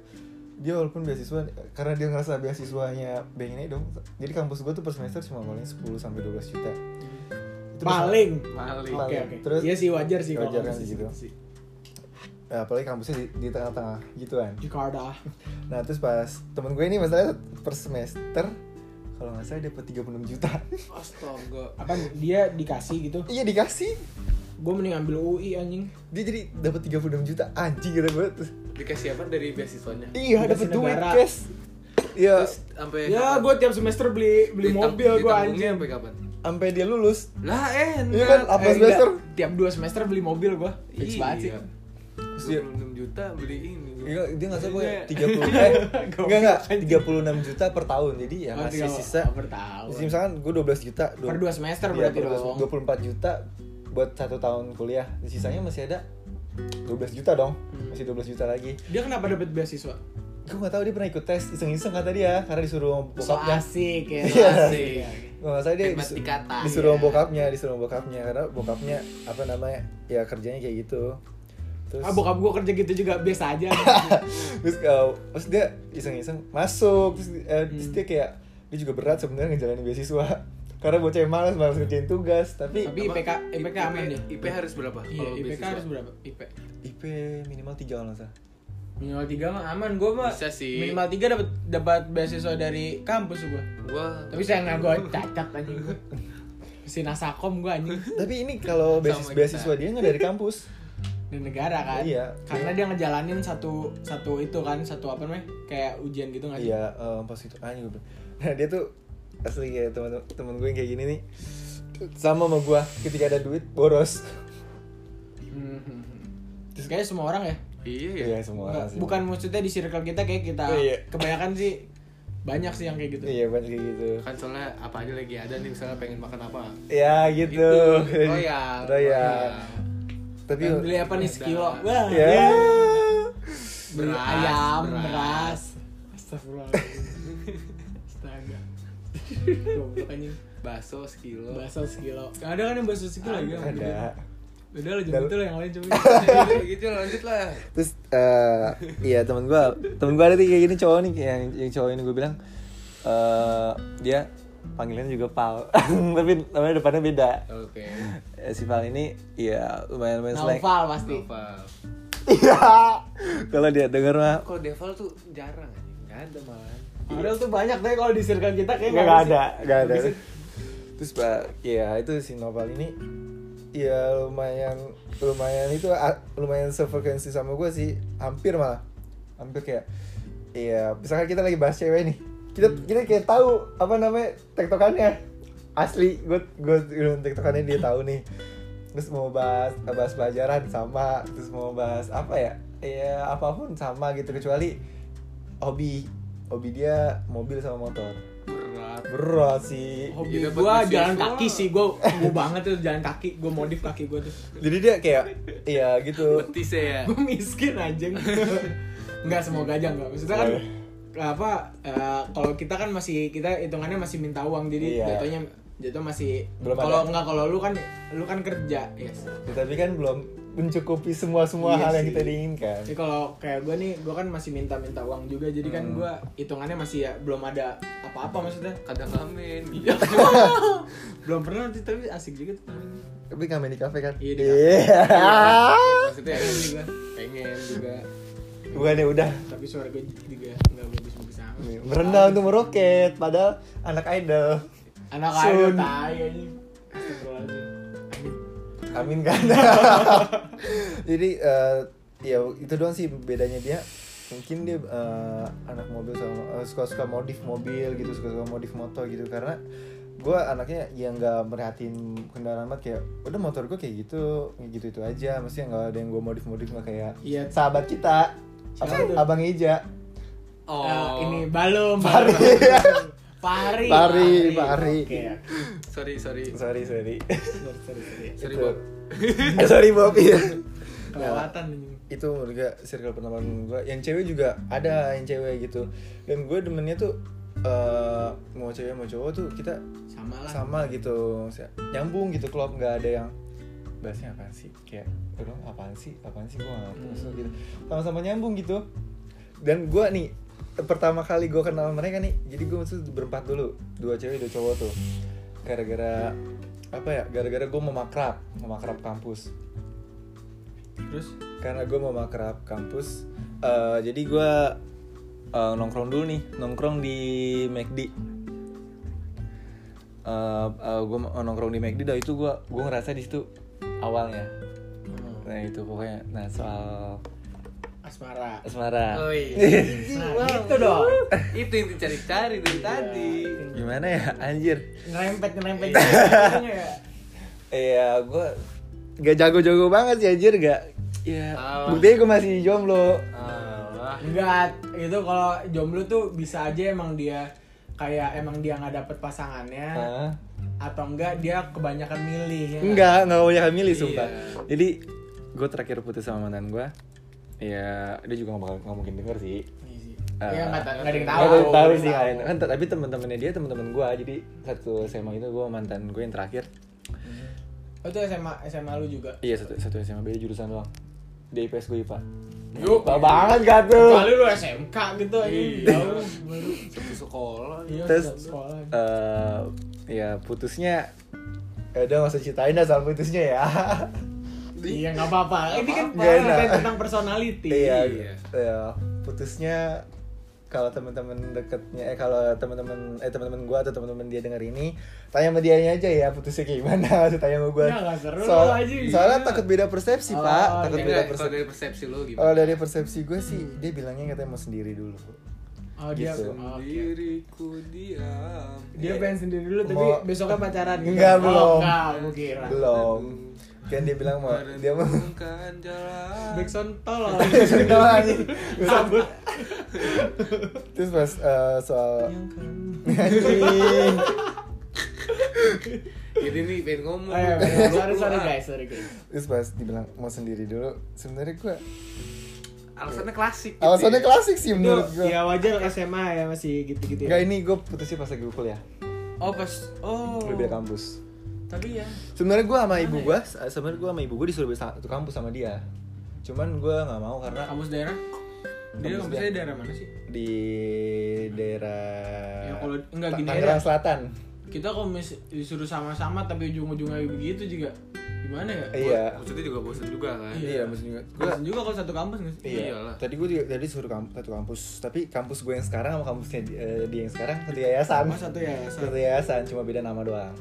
B: Dia walaupun beasiswa Karena dia ngerasa beasiswanya Pengen dong Jadi kampus gue tuh per semester Cuma paling 10-12 juta Itu
A: paling oke
B: Paling.
C: Maling.
A: oke
B: Terus-
A: iya sih wajar sih kalau kamu
B: Wajar kan
A: sih
B: gitu.
A: gitu sih.
B: bersama- eh, Apalagi kampusnya di, di tengah-tengah gituan
A: Jakarta
B: Nah terus pas Temen gue ini masalahnya per semester Kalau nggak salah dapat 36 juta
C: Astaga.
A: apa dia dikasih gitu
B: Iya dikasih
A: gue mending ambil UI anjing
B: Dia jadi dapat 36 juta Anjing gitu gue Terus
C: Dikasih apa dari beasiswanya?
B: Iya,
A: Dikasih
B: dapat duit
A: negara.
B: cash. Iya,
C: Terus sampai
A: ya gue tiap semester beli beli mobil gue anjing
C: Sampai kapan?
B: sampai dia lulus.
C: Lah enak.
B: Iya kan, apa
A: Eh,
B: semester?
A: enggak. tiap dua semester beli mobil gue fix banget sih
C: Iya.
B: Iya.
C: 26 juta beli ini.
B: Iya, dia nggak salah gue
C: Iya.
B: 30 eh enggak enggak
A: Anjing.
B: 36 juta per tahun. Jadi ya
A: Oh,
B: masih
A: tiga-
B: sisa.
A: oh, per tahun.
B: Jadi misalkan gue 12 juta dua-
A: Per dua semester
B: Iya,
A: berarti
B: per dua-
A: dong.
B: 24 juta buat satu tahun kuliah. Di sisanya
A: Hmm.
B: masih ada 12 juta dong. Masih 12 juta lagi.
A: Dia kenapa dapat beasiswa?
B: Gue nggak tahu dia pernah ikut tes iseng-iseng kata dia karena disuruh sama
A: So
B: bokapnya.
A: asik ya.
B: Iya.
A: asik.
B: Nggak masalah dia
C: Hemat
B: disu-
C: dikata,
B: disuruh sama
A: iya.
B: bokapnya, disuruh sama bokapnya karena bokapnya apa namanya? Ya kerjanya kayak gitu. Terus
A: Ah bokap gue kerja gitu juga biasa aja.
B: terus uh, terus dia iseng-iseng masuk terus, eh, terus
A: Hmm.
B: dia kayak dia juga berat sebenarnya ngejalanin beasiswa karena bocah yang malas malas ngerjain tugas tapi
A: Tapi IPK IPK aman deh.
C: IP harus berapa?
A: Iya,
C: kalau
A: IPK
C: beasiswa?
A: harus berapa? IP.
B: IP minimal tiga kalau nggak salah
A: Minimal 3 mah aman gue mah.
C: Bisa sih.
A: Minimal 3 dapat dapat beasiswa dari kampus gue.
C: Gua
A: Tapi sayangnya gue cacat anjing gue. Si nasakom gue anjing
B: tapi ini kalau beasiswa
C: Sama kita.
B: beasiswa dia nggak dari kampus
A: di negara kan.
B: Iya.
A: Karena dia ngejalanin satu satu itu kan, satu apa namanya? Kayak ujian gitu nggak sih?
B: iya eh, pas itu anjing gue bilang. nah dia tuh asli kayak teman teman gue yang kayak gini nih sama sama gue ketika ada duit boros
A: Mhm. Terus kayaknya semua orang ya.
C: iya ya.
B: iya semua orang
A: Nggak,
B: sih
A: bukan maksudnya di circle kita kayak kita
B: Iya.
A: kebanyakan sih banyak sih yang kayak gitu.
B: iya banyak kayak gitu
C: Kan soalnya apa aja lagi ada nih misalnya pengen makan apa.
B: ya gitu
C: Itu, royal.
B: royal tapi
A: Pengen beli apa nih sekilo?
C: Ada.
A: Wah,
B: ya
A: ya. Beli
C: Beras,
A: ayam,
C: beras.
A: beras. Astagfirullahaladzim. Astaga. Goblok anjing.
C: Bakso sekilo.
A: Bakso sekilo. Ada kan yang bakso sekilo lagi?
B: ada
A: Udah lah jangan
B: Dal-
A: itu lah yang lain coba.
C: gitu lanjut lah.
B: terus eh iya teman gue teman gue ada nih kayak gini cowok nih yang yang cowok ini gue bilang eh dia panggilannya juga pal tapi namanya depannya beda
C: Oke.
B: Eh, si pal ini ya lumayan lumayan selek
A: Naufal pasti.
C: Noval.
B: iya kalau dia denger mah
C: Kalau Deval tuh jarang anjing. Enggak ada malahan.
A: Padahal tuh banyak tapi kalau di circle kita kayak
B: nggak nggak ada nggak ada
A: Bisa-
B: terus pak ya itu si Nopal ini ya lumayan lumayan itu a- lumayan sefrekuensi sama gue sih hampir malah hampir kayak ya misalkan kita lagi bahas cewek nih kita kita kayak tahu apa namanya tektokannya asli gue gue tektokannya dia tahu nih terus mau bahas bahas pelajaran sama terus mau bahas apa ya ya apapun sama gitu kecuali hobi hobi dia mobil sama motor
C: Berat.
B: berat sih
A: Hobi
C: Iya, dapat
A: gue
C: beasiswa.
A: jalan kaki sih, gue gue banget tuh jalan kaki, gue modif kaki gue tuh.
B: jadi dia kayak iya gitu
C: Betis ya.
A: gue miskin anjing nggak semoga aja nggak maksudnya kan apa eh, kalau kita kan masih kita hitungannya masih minta uang jadi
B: Iya.
A: jatuhnya jatuh masih
B: Belum
A: kalau
B: ada.
A: nggak kalau lu kan lu kan kerja yes
B: Ya, tapi kan belum mencukupi semua semua
A: Iya
B: hal yang
A: sih.
B: kita diinginkan
A: Jadi kalau kayak gue nih, gue kan masih minta-minta uang juga, jadi
B: Hmm.
A: kan gue hitungannya masih ya belum ada apa-apa maksudnya.
C: kadang ngamen gitu
A: Iya. Belum pernah sih, tapi asik juga tuh.
B: tapi ngamen di kafe kan
A: Iya, di
C: maksudnya
A: Pengen juga,
C: pengen juga
B: bukan ya udah
A: tapi suara gue juga nggak bagus-bagus amat.
B: Iya, merendah untuk meroket padahal anak idol
A: Anak
B: Sun.
A: ayo tai anjing. Astagfirullahaladzim. Anjing.
B: amin kan jadi eh, ya itu doang sih bedanya dia mungkin dia eh, anak mobil sama eh, suka-suka modif mobil gitu suka-suka modif motor gitu karena gue anaknya yang nggak merhatiin kendaraan banget kayak udah motor gue kayak gitu gitu itu aja mesti nggak ada yang gue modif modif nggak kayak
A: Iya.
B: sahabat kita
A: Siapa
B: abang,
A: tuh?
B: abang Eja
C: oh
A: Eh, ini balum.
B: Pari.
A: balum. Pari.
B: Pari, pari.
A: Oke.
C: sorry sorry
B: sorry
A: Sorry,
B: sorry
A: sorry, sorry.
C: sorry
B: Itu.
C: Bob
B: Eh, sorry Bob iya. Nah,
A: Kelewatan anjing.
B: itu menurut gue circle pertemanan gue yang cewek juga ada yang cewek gitu dan gue demennya tuh eh, mau cewek mau cowok tuh kita
A: Sama lah.
B: sama gitu Maksudnya, nyambung gitu klop nggak ada yang bahasnya apaan sih kayak udah apaan sih apaan sih gue nggak ngerti maksud gitu sama-sama nyambung gitu dan gue nih pertama kali gue kenal mereka nih jadi gue maksud berempat dulu dua cewek dua cowok tuh gara-gara apa ya gara-gara gue mau makrab mau makrab kampus
A: Terus
B: karena gue mau makrab kampus eh, jadi gue eh, nongkrong dulu nih nongkrong di McD Eh, gue nongkrong di McD dah itu gue gue ngerasa di situ awalnya
A: Oh,
B: nah itu pokoknya nah soal
A: asmara.
B: asmara
C: Oi.
A: Nah, gitu dong.
C: itu yang dicari-cari dari tadi
B: gimana ya anjir
A: Ngerempet ngerempet. Iya.
B: Iya, gue gak jago-jago banget sih anjir gak. Iya,
C: Ah.
B: buktinya gue masih jomblo.
C: Alah.
A: Enggak, itu kalau jomblo tuh bisa aja emang dia kayak emang dia nggak dapet pasangannya
B: Hah?
A: atau enggak dia kebanyakan milih ya nggak?
B: Enggak, enggak banyak milih sumpah.
C: Iya.
B: Jadi gue terakhir putus sama mantan gue. Iya, dia juga gak, bakal, nggak mungkin denger sih.
A: Iya sih.
B: Ah.
A: Iya nggak ta- nggak ada yang
B: Tahu,
A: tahu.
B: tahu,
A: Nggak ada yang
B: sih kan. Kan t- tapi teman-temannya dia teman-teman gue. Jadi satu SMA itu gue mantan gue yang terakhir.
A: Oh, itu SMA SMA lu juga.
B: Iya, satu satu SMA beda jurusan doang. Di IPS gue IPA.
A: Yuk,
B: Bah banget gak tuh?
A: Kali lu SMK gitu iya.
C: Iya.
A: Baru
C: Satu sekolah
A: iya
B: Terus-
A: sudah sekolah.
B: eh ya putusnya ya udah nggak usah ceritain dah soal putusnya ya
A: Iya nggak apa-apa. Ini kan
B: Nggak
A: bahas
B: enak.
A: kan tentang personality.
B: iya iya putusnya kalau teman-teman deketnya eh kalau teman-teman eh teman-teman gua atau teman-teman dia denger ini tanya sama dia aja ya putusnya kayak gimana Maksud tanya sama gua
A: Ya, nggak seru
B: Soal-
A: lu aja.
B: soalnya takut beda persepsi
A: Oh,
B: pak takut
C: Enggak,
B: beda
C: kalau
B: persepsi
C: dari persepsi lo
B: Oh
C: gimana?
B: dari persepsi gue sih dia bilangnya katanya mau sendiri dulu
A: Oh, dia
B: Gitu.
A: oh, oke.
C: Diriku diam. Iya.
A: Dia pengen sendiri dulu tapi
B: Mau-
A: besoknya pacaran. gitu.
B: Enggak,
A: Oh,
B: belum.
A: Enggak, gua kira.
B: belum kan dia bilang mau dia mau
C: Merenungkan jalan.
A: Backsound tolong.
B: Sudah anjing. Sambut. Terus pas eh, soal
A: Yang kan.
B: Anjing.
C: Jadi nih pengen ngomong.
A: Oh, iya, bener. sorry sorry guys, sorry guys.
B: Terus pas dibilang mau sendiri dulu Sebenarnya gue
C: Alasannya klasik. gitu
B: Alasannya
C: ya.
B: klasik sih
A: Itu
B: menurut gue
A: ya wajar SMA ya masih gitu-gitu
B: Enggak
A: ya.
B: ini gue putusnya pas lagi gue kuliah
A: Oh, pas oh. ya?
B: Gue beda kampus
A: Tapi ya
B: Sebenarnya gue sama ibu gue sebenarnya gue sama ibu gue disuruh beda satu kampus sama dia Cuman gue gak mau karena
A: kampus daerah dia
B: Kampus
A: kampusnya
B: daerah.
A: daerah mana sih?
B: di daerah
A: Ya, kalau- enggak, gini
B: Tangerang
A: aja.
B: Selatan
A: Kita kalau mis- disuruh sama-sama tapi ujung-ujungnya begitu juga gimana ya?
B: Iya
C: Maksudnya juga bosan juga kan.
A: Iya.
B: Iya maksudnya gue
A: Bosan juga kalau satu kampus nggak sih?
B: Iya.
C: Iyalah.
B: Tadi gue tadi suruh kamp- satu kampus, tapi kampus gue yang sekarang sama kampusnya di- eh, dia yang sekarang satu yayasan.
A: Oh, satu yayasan.
B: Satu yayasan, cuma beda nama doang.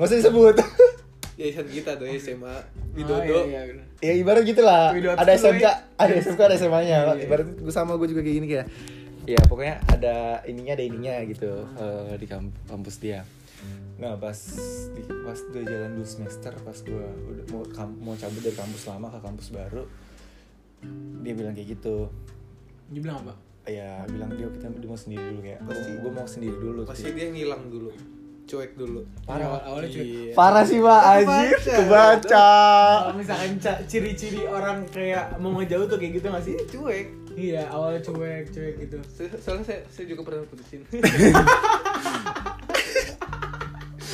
B: Nggak usah disebut.
C: Yayasan Ya, kita tuh SMA
A: Oh,
C: Widodo.
A: iya, iya, bener.
B: ya ibarat gitu lah.
A: Widodo
B: Ada
A: Abdul,
B: SMK,
A: ya.
B: ada SMK, ada SMA-nya.
A: Iya, iya.
B: Ibarat gue sama gue juga kayak gini kayak. Ya pokoknya ada ininya ada ininya gitu eh, di kamp- kampus dia. Nah pas di, pas udah jalan dua semester pas gue udah mau kam- mau cabut dari kampus lama ke kampus baru dia bilang kayak gitu
A: Dia bilang apa?
B: ya bilang dia kita dia mau sendiri dulu kayak pasti gue mau sendiri dulu
C: Pasti dia ngilang dulu. Cuek dulu. Iya.
A: Parah awal awalnya cuy.
B: parah sih pak anjir kebaca
A: Kalau misalkan ca- ciri-ciri orang kayak mau ngejauh tuh kayak gitu gak sih?
C: Iya, cuek.
A: Iya, awalnya cuek, cuek gitu.
C: So- Soalnya saya, saya juga pernah putusin.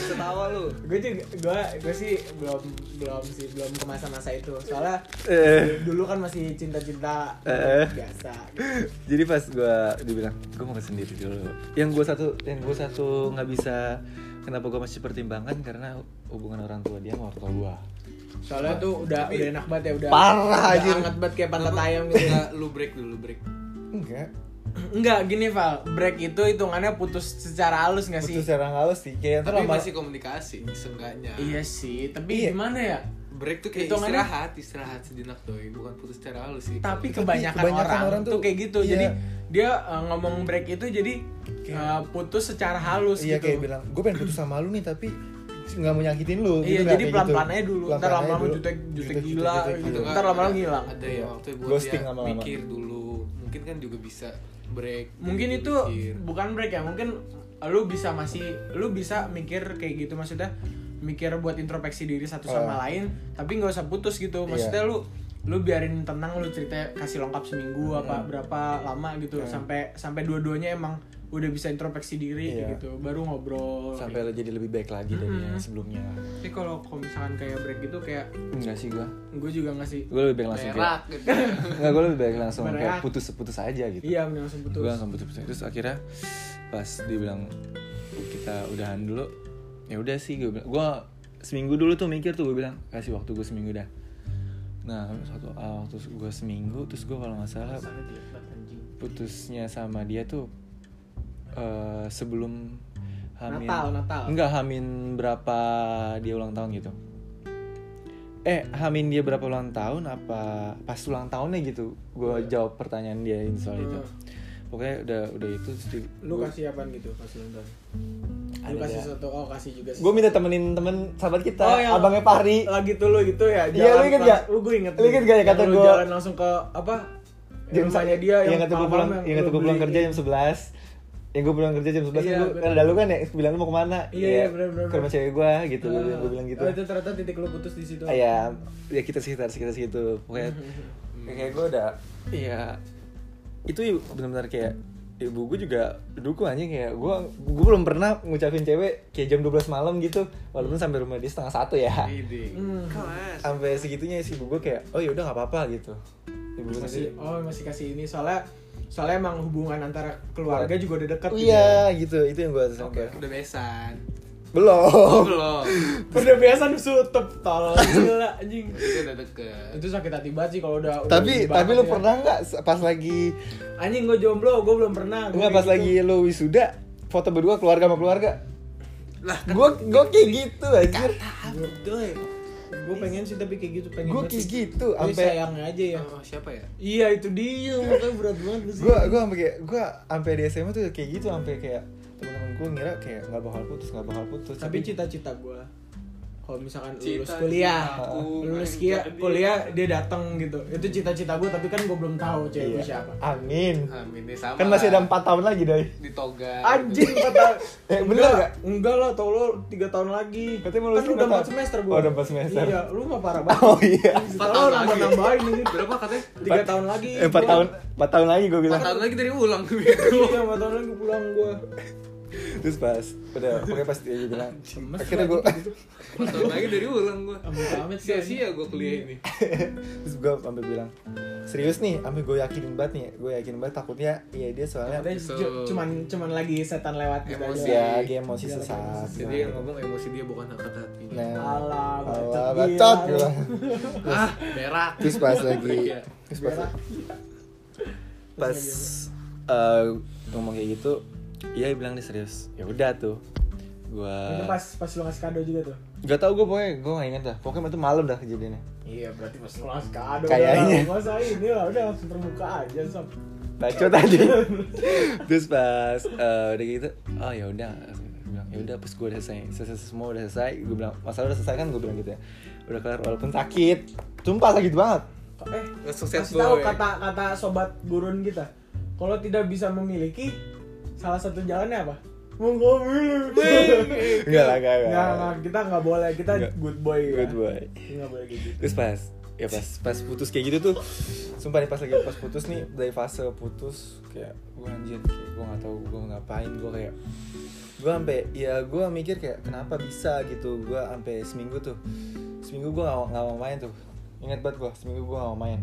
C: Ketawa lu.
A: Gue gue juga gue gue sih belum belum sih belum ke masa-masa itu soalnya
D: Eh.
A: dulu kan masih cinta-cinta
D: Eh.
A: biasa
D: jadi pas gue dibilang
B: gue mau sendiri dulu yang gue satu yang gue satu nggak bisa kenapa gue masih pertimbangkan karena hubungan orang tua dia sama orang tua gue
A: soalnya tuh udah udah enak banget ya udah
D: Parah,
A: udah
D: anjir.
A: anget banget kayak pantat ayam gitu
C: Enggak, lu break dulu, lu break.
D: enggak
A: enggak gini Val break itu hitungannya putus secara halus nggak sih
D: putus ya. secara halus sih kayak ntar
C: Tapi
D: lama
C: masih komunikasi, seenggaknya.
A: iya sih tapi
D: Iya.
A: gimana ya
C: Break tuh kayak
A: Hitungannya-
C: istirahat, istirahat sejenak doi, bukan putus secara halus sih.
A: tapi
D: Tapi
A: kebanyakan,
D: kebanyakan
A: orang,
D: orang
A: tuh
D: tuh-
A: kayak gitu
D: iya.
A: jadi dia uh, ngomong break itu jadi uh, putus secara halus
D: iya
A: gitu
D: kayak bilang gue pengen putus sama lu nih tapi nggak mau nyakitin lu Gitu
A: Iya,
D: nggak?
A: jadi
D: Kayak
A: pelan-pelan aja dulu. Ntar
D: Pelan-pelan aja
A: lama-lama
D: dulu.
A: jutek- jutek gila,
D: jutek
A: gitu.
C: Atau
A: Ntar
C: enggak,
A: lama-lama
C: ada-
A: ngilang.
C: Ada yang
D: Iya.
C: waktu buat
D: Ghosting
C: dia
D: lama-lama.
C: mikir dulu. Mungkin kan juga bisa break.
A: mungkin
C: jadi
A: itu
C: mikir.
A: bukan break ya mungkin lu bisa masih lu bisa mikir kayak gitu maksudnya mikir buat introspeksi diri satu sama
D: Ah.
A: lain tapi nggak usah putus gitu maksudnya lu lu biarin tenang lu cerita kasih lengkap seminggu apa berapa lama gitu sampai sampai dua-duanya emang udah bisa introspeksi diri
D: Iya.
A: gitu baru ngobrol
B: sampai lo jadi lebih baik lagi dari yang sebelumnya
A: tapi kalau kalau misalkan kayak break gitu kayak
B: enggak sih gue
A: gue juga nggak sih
B: gue lebih baik langsung
C: Berak gitu.
B: kayak enggak gue lebih baik langsung kayak
A: Berak.
B: putus putus aja gitu
A: iya mending langsung
B: gue
A: putus
B: langsung putus putus terus akhirnya pas dibilang kita udahan dulu ya udah sih gue gue seminggu dulu tuh mikir tuh gue bilang kasih waktu gue seminggu dah nah satu ah, waktu gue seminggu terus gue kalau nggak salah putusnya sama dia tuh eh, sebelum Hamin
A: Natal, Natal.
B: Enggak Hamin berapa dia ulang tahun gitu. Eh Hamin dia berapa ulang tahun apa pas ulang tahunnya gitu. Gue jawab pertanyaan dia ini soal itu.
A: Iya. Hmm.
B: Pokoknya udah udah itu
A: lu kasih apaan gitu pas nonton lu
B: Ada ya.
A: kasih
B: dia.
A: satu oh kasih juga
B: Gue minta temenin temen sahabat kita,
A: Oh, yang-
B: abangnya Pahri.
A: lagi tuh lu gitu ya
D: Iya, lu inget gak?
A: lu gue inget
D: Lu inget gak ya
A: Yang
D: kata
A: lu
D: gua-
A: jalan langsung ke apa
D: jam Iya,
A: rumahnya
B: iya,
A: dia
D: yang kata gue pulang yang kata gue pulang kerja jam 11 yang gue pulang kerja jam 11
A: Iya,
D: kan gue
A: bener.
D: ada lu kan ya bilang lu mau kemana
A: Iya, iya, bener, bener,
D: ke rumah
A: bener.
D: cewek gue gitu gue bilang- gue bilang gitu
A: Ah. Oh, itu ternyata titik lu putus di situ
D: Ah, ya
B: Iya,
D: ya kita sekitar sekitar segitu pokoknya kayak gue udah
B: Iya. Itu i- benar-benar kayak ibu gue juga dukung aja kayak gue gue belum pernah ngucapin cewek kayak jam 12 malam gitu walaupun sampai rumah dia setengah satu ya
C: Ide.
A: Hmm.
C: Kelas.
B: sampai segitunya sih ibu gue kayak oh ya udah nggak apa-apa gitu ibu
A: masih
B: gue
D: gitu.
B: sendiri
A: oh masih kasih ini soalnya soalnya emang hubungan antara keluarga juga udah ya? dekat
D: oh, iya gitu itu yang gue sampai
C: Udah besan.
D: belum
C: Oh, belum.
A: udah biasa nusutup tol gila anjing
C: Itu udah deket.
A: itu sakit hati banget sih kalau udah udah
D: tapi
A: ini
D: tapi
A: banget
D: lu
A: ya.
D: pernah nggak se- pas lagi
A: anjing gue jomblo gue belum pernah Gua
D: nggak
A: kayak
D: pas
A: gitu.
D: lagi lu wisuda foto berdua keluarga sama keluarga gue gue kayak gitu anjir
A: gue pengen sih tapi kayak gitu pengen
D: gue
A: banget
D: kayak
A: sih.
D: gitu
A: Tapi
D: sampai
A: sayangnya aja ya
C: Oh, siapa ya?
A: Iya itu dia makanya berat banget lu sih.
D: gue gue sampai kayak gue sampai di SMA tuh kayak gitu sampai kayak teman-teman gue ngira kayak nggak bakal putus nggak bakal putus
A: Tapi cita-cita gue kalau misalkan lulus
C: Cita-cita
A: kuliah,
C: aku
A: lulus
C: menjadi-
A: kia, kuliah dia datang gitu. Itu cita-cita gue tapi kan gue belum tahu cewek
D: Iya.
A: gue siapa.
D: amin
C: Amin deh sama.
D: kan masih ada
C: Ah, lah.
D: empat tahun lagi doi
C: di toga.
A: Anjing kata
D: Eh, bener
A: Enggak,
D: nggak?
A: Enggak lah, tau lo 3 tahun lagi
D: Katanya mau
A: Kan
D: lulus
A: lu udah
D: berapa?
A: 4 semester gue
D: Oh, udah empat semester.
A: Iya, lu mah parah banget
D: Oh, iya.
A: Setelah lo nambah-nambahin ini
C: Berapa katanya?
A: 3 tahun lagi
D: Eh, empat
A: gua-
D: tahun empat tahun lagi gue
C: Empat
D: bilang
C: tahun lagi dari ulang
A: Iya, 4 tahun lagi pulang gue
D: terus pas udah pokoknya pas dia bilang
A: Gemes
D: akhirnya gue
C: Empat tahun lagi dari ulang gue.
A: Amit amat sih
C: Sia-sia gue kuliah ini.
D: terus gue sampai bilang serius nih sampai gue yakinin banget nih gue yakinin banget takutnya iya dia soalnya
A: Katanya
C: So-
A: cu- cuman cuman lagi setan lewat gitu aja.
C: Emosi.
D: ya dia emosi
A: Iya,
D: sesaat
A: emosi.
C: Jadi yang ngomong emosi dia bukan angkat hati.
D: nah
A: Alah,
D: Allah
A: gila
D: bacot
A: lu.
D: gua.
C: Ah, berak.
D: terus pas lagi
C: Iya.
D: terus pas
A: Berak.
B: pas eh, ngomong kayak gitu iya dia bilang dia serius ya udah tuh gue
A: Itu pas pas lu ngasih kado juga tuh.
B: nggak tau gue pokoknya gue nggak inget dah pokoknya itu malam dah kejadiannya
A: Iya, berarti pas lu ngasih kado.
D: Kayaknya.
A: udah, Masa ini lah udah langsung terbuka aja sob.
B: bacot tadi terus pas eh, udah gitu oh ya udah Gua bilang ya udah pas gue udah selesai, selesai semua udah selesai gue bilang masalah udah selesai kan gue bilang gitu ya udah kelar walaupun sakit
D: sumpah sakit banget
A: Eh,
C: Langsung set
A: kasih tahu
C: boy.
A: kata-kata sobat gurun kita. Kalau tidak bisa memiliki salah satu jalannya apa? Mengomil.
D: enggak lah enggak
A: Enggak,
D: enggak
A: kita enggak boleh. Kita
D: Nggak.
A: good boy.
D: good boy
A: Enggak boleh kayak gitu.
B: terus pas ya pas pas putus kayak gitu tuh
D: Sumpah nih pas lagi pas putus nih dari fase putus kayak gue anjir kayak gue nggak tahu gue mau ngapain gue kayak
B: gue sampai ya gue mikir kayak kenapa bisa gitu gue sampai seminggu tuh seminggu gue nggak nggak mau main tuh ingat banget gue seminggu gue nggak mau main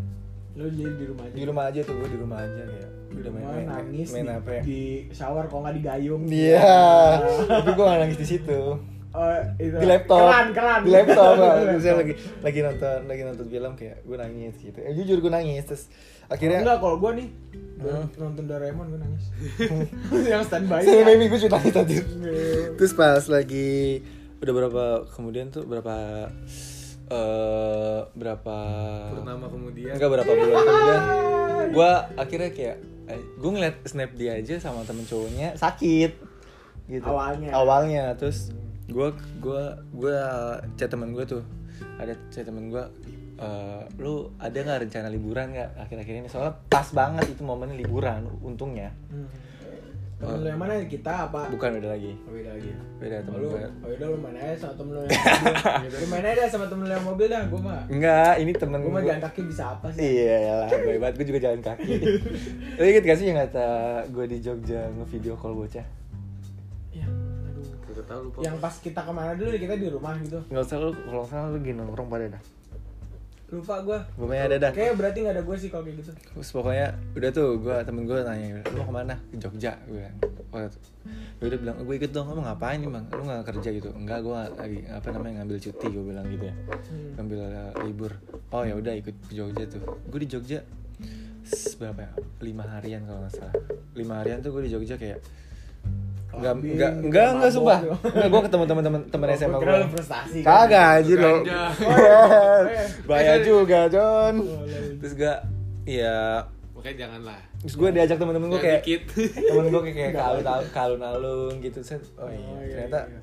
A: Lo jadi di rumah aja.
B: di rumah aja tuh gue di rumah aja kayak udah main
A: Gua
B: main
A: nangis
B: main
A: di,
B: apa ya
A: di shower kalau nggak di gayung.
B: iya tapi gue nggak nangis di situ
A: Oh, itu.
B: di laptop
A: Keren, keren.
B: di
A: Di
B: laptop Pak.
A: laptop.
B: Terus saya lagi lagi nonton lagi nonton film kayak gue nangis gitu eh, jujur gue nangis terus akhirnya
A: Oh, Enggak, kalau gue nih
B: Hmm.
A: nonton Doraemon gue nangis. Yang standby.
B: sini baby gue juga nangis tadi
A: Nggak.
B: terus pas lagi udah berapa kemudian tuh berapa eh berapa
C: Purnama
A: Iya.
C: kemudian
B: enggak berapa bulan kemudian gue akhirnya kayak gue ngeliat snap dia aja sama temen cowoknya sakit gitu
A: Awalnya. Hmm.
B: awalnya terus gue gua gua chat temen gue tuh ada chat temen gue eh lu ada nggak rencana liburan nggak akhir-akhir ini soalnya pas banget itu momennya liburan untungnya
A: Hmm. Temen lu yang mana kita apa?
B: bukan beda lagi
A: Oh, Beda lagi.
B: beda temen ya.
A: Lu,
B: gue
A: oh udah lu main aja sama temen lu yang mobil. Gitu. Lu main aja sama temen lu yang mobil dah, gue mah.
B: enggak ini temen
A: Gue mah
B: gua-
A: jalan kaki bisa apa sih?
B: Iya lah, baik banget gue juga jalan kaki. Lo inget gak sih yang kata gue di Jogja ngevideo call bocah?
A: Iya. Aduh.
C: Gak tau lupa
A: Yang pas kita kemana dulu kita di rumah gitu.
B: Gak usah lu, kalau nggak salah lu gini nongkrong pada dah.
A: Lupa gue.
B: Gue main ada dah.
A: Kayaknya berarti nggak ada gue sih kalau kayak gitu.
B: Terus pokoknya udah tuh gue temen gue nanya lu mau kemana ke Jogja gue bilang Waktu itu. Gue udah bilang gue ikut dong kamu ngapain nih bang lu nggak kerja gitu enggak gue lagi apa namanya ngambil cuti gue bilang gitu ya
A: Hmm.
B: ngambil uh, libur oh ya udah ikut ke Jogja tuh gue di Jogja s- berapa ya lima harian kalau nggak salah lima harian tuh gue di Jogja kayak Enggak,
A: Kambing,
B: enggak, enggak, enggak,
A: mabok
B: sumpah
A: gitu.
B: Enggak, gue ketemu temen-temen temen
A: Oh,
B: SMA
A: gua kira
B: gue
A: lu prestasi.
B: Kagak anjir
C: Ganja.
B: lo
A: Oh, iya. Eh.
B: Bahaya juga, John
A: Boleh.
B: Terus gue, ya
C: Makanya janganlah
B: Terus gue diajak temen-temen
A: Ya,
B: gue
C: Jangan
B: kayak
C: dikit
B: Temen gue kayak kayak ke alun- ke alun-alun gitu Set, Oh
A: Oh,
B: iya,
A: iya,
B: ternyata
A: iya.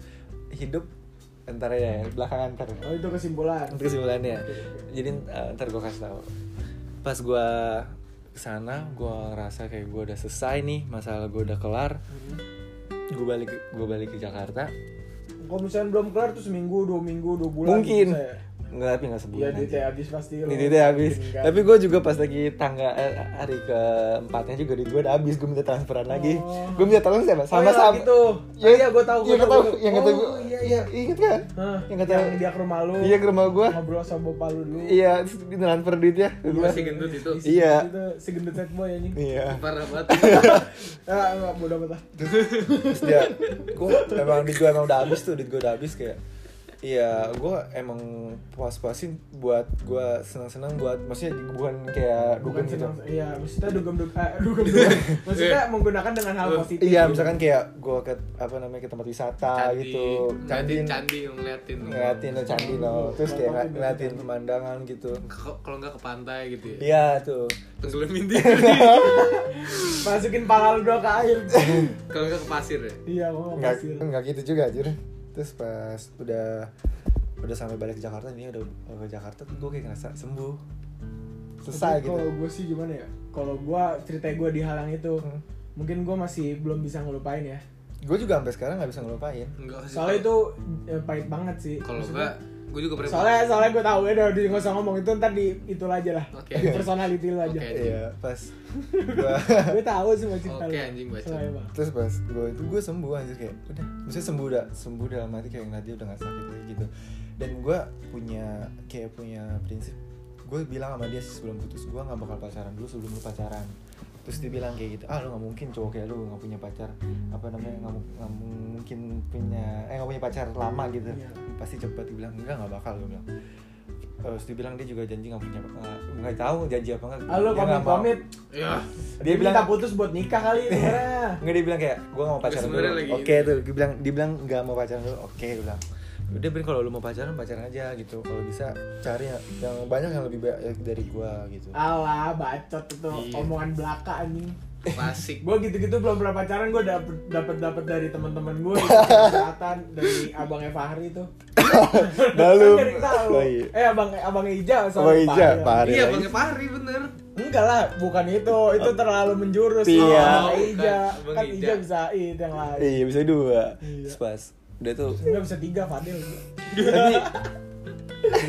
B: hidup Ntar ya, belakangan ntar
A: Oh itu kesimpulan.
B: Itu kesimpulannya. Jadi eh, ntar gue kasih tahu. Pas gue kesana, gue ngerasa kayak gue udah selesai nih masalah gue udah kelar. Gue balik gue balik ke Jakarta.
A: Kalau misalnya belum kelar tuh seminggu, dua minggu, dua bulan.
B: Mungkin
A: bisa ya.
B: nggak tapi nggak
A: Iya
B: sebulan.
A: duitnya habis pasti. lu.
B: Ini duitnya habis.
A: Mungkin kan.
B: Tapi gue juga pas lagi tangga eh, hari keempatnya juga duit gue udah habis. Gue minta transferan lagi.
A: Oh.
B: Gue minta tolong siapa?
A: Oh,
B: Sama
A: yang
B: sama.
A: itu. Oh, iya, gua tahu, gua
B: gitu. Iya, gua
A: tahu,
B: tahu.
A: gua
B: Yang
A: tahu.
B: kata gue.
A: Oh, Ah.
B: Iya, iya. Ingat kan?
A: Hah,
B: Yang
A: yang
B: kata.
A: dia ke rumah lu.
B: Iya ke rumah gue.
A: Ngobrol sama bapak lu dulu.
B: Iya, terus dia transfer duitnya. ke
C: Gue
B: gua.
C: masih gendut itu
A: Isi
B: Iya.
A: Itu segendut set boy anjing.
B: Iya.
C: Parah banget
A: Ah, enggak bodo amat lah.
B: terus dia gue emang duit gue emang udah habis tuh duit gue udah habis kayak Iya, gue emang puas-puasin buat gue senang-senang buat maksudnya bukan kayak
A: Bukan
B: bukan gitu.
A: senang. Iya, maksudnya dugem duga dugem duga. Maksudnya menggunakan dengan hal positif.
B: Iya, misalkan kayak gue ke apa namanya ke tempat wisata
C: Candi
B: gitu,
C: Candi
B: candi
C: Candi ngeliatin
B: ngeliatin lo candi lo, terus kayak ngel- ngeliatin pemandangan gitu.
C: Ke- Kalau nggak ke pantai gitu ya
B: Iya tuh.
C: Tenggelamin diri
A: Masukin pala lu doang ke air.
C: Kalau nggak ke pasir ya
A: Iya, gua mau
B: nggak
A: pasir.
B: nggak gitu juga anjir terus pas udah udah sampai balik ke Jakarta ini udah udah ke Jakarta tuh gue kayak ngerasa sembuh selesai
A: Tapi
B: gitu
A: Kalau gue sih gimana ya? Kalau gue ceritanya gue dihalang itu,
B: Hmm.
A: mungkin gue masih belum bisa ngelupain ya.
B: gue juga sampai sekarang nggak bisa ngelupain
C: Enggak sih
A: Soalnya itu eh, pahit banget sih.
C: Kalau
A: Maksudnya-
C: enggak Gue juga pernah
A: Soalnya soalnya gue tahu ya udah udah nggak usah ngomong itu ntar di itu aja lah.
C: Oke.
A: Personality lu aja.
C: Oke.
B: iya pas gue
A: Gue tahu semua cerita. lu.
C: Oke, anjing, baca.
A: Soalnya, Bang.
B: terus pas gue itu gue sembuh anjir kayak udah maksudnya sembuh udah sembuh dalam hati kayak ngeliat dia udah nggak sakit lagi gitu dan gue punya kayak punya prinsip gue bilang sama dia sih sebelum putus gue nggak bakal pacaran dulu sebelum lu pacaran terus dia bilang kayak gitu ah lu nggak mungkin cowok kayak lu nggak punya pacar apa namanya nggak mu- nggak mungkin punya eh nggak punya pacar lama gitu
A: Iya.
B: pasti cepat dibilang enggak nggak bakal gue bilang terus dia bilang dia juga janji nggak punya nggak- nggak tahu janji apa enggak
A: Ah, lu komit komit.
C: Ya
A: Dia
B: dia bilang
A: minta putus buat nikah kali sebenarnya.
B: Enggak dia bilang kayak gue gak mau pacaran dulu.
C: sebenarnya lagi gitu ya.
B: Oke tuh, dia bilang dia bilang gak mau pacaran dulu. Oke, dia bilang. Udah Ben kalau lu mau pacaran pacaran aja gitu. Kalau bisa cari yang, yang banyak yang lebih baik dari gua gitu.
A: Alah, bacot itu
C: Iya.
A: omongan belaka anjing.
C: Klasik
A: Gue gitu-gitu belum pernah pacaran, gue dapet dapet dapet dari teman-teman gue, kesehatan dari abangnya Fahri tuh.
B: Lalu
A: Kan jadi tahu.
B: Oh, iya.
A: Eh abang abangnya Ija sama
B: Sama Ija, Oh, Pak Ari
C: Iya
B: lagi.
C: Bang Pari bener
A: Enggak lah, bukan itu. Itu terlalu menjurus.
B: Oh. Iya.
A: Oh, abangnya Ija.
C: Bukan,
A: Kan
C: abang
A: Ija
C: Ija.
A: bisa itu yang lain.
B: Iya bisa dua.
A: Iya.
B: Terus pas udah tuh.
A: Enggak bisa tiga Fadil.
B: Iya. tapi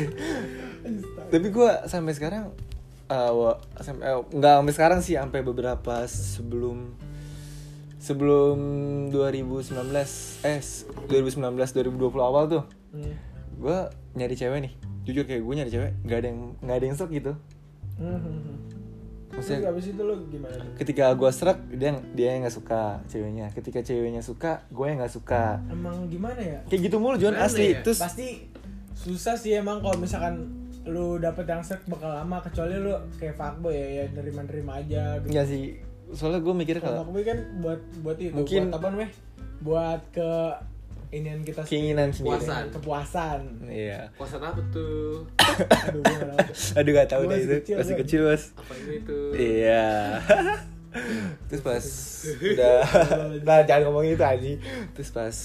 B: tapi gua sampai sekarang eh, wa- sampai eh, nggak sampai sekarang sih sampai beberapa sebelum sebelum 2019 eh 2019 2020 awal tuh
A: Hmm.
B: gue nyari cewek nih jujur kayak gue nyari cewek nggak ada yang nggak ada yang serak gitu
A: Hmm. Terus
B: maksudnya
A: abis itu lo gimana? tuh?
B: ketika gue serak dia dia yang nggak suka ceweknya ketika ceweknya suka gue yang nggak suka
A: Emang gimana ya?
B: kayak gitu mulu John
C: Gimana
B: asli
C: ya?
B: terus
A: Pasti susah sih emang kalau misalkan lu dapet yang set bakal lama kecuali lu kayak fuckboy ya, ya nerima-nerima aja gitu.
B: nggak sih soalnya gue mikir
A: Kalau
B: kalau
A: fuckboy kan buat buat itu,
B: Mungkin-
A: buat apa namanya? Buat ke inian kita
B: keinginan sendiri
C: Puasa.
A: sendiri. kepuasan.
B: iya
C: Kosan apa tuh?
A: Aduh, gua nggak tahu.
B: aduh gak tahu
A: Gua
B: deh
A: masih
B: itu
A: kecil,
B: masih
A: kan?
B: kecil mas
C: Apa itu itu?
B: Iya. Terus pas udah
D: nah jangan ngomongin itu aja
B: terus pas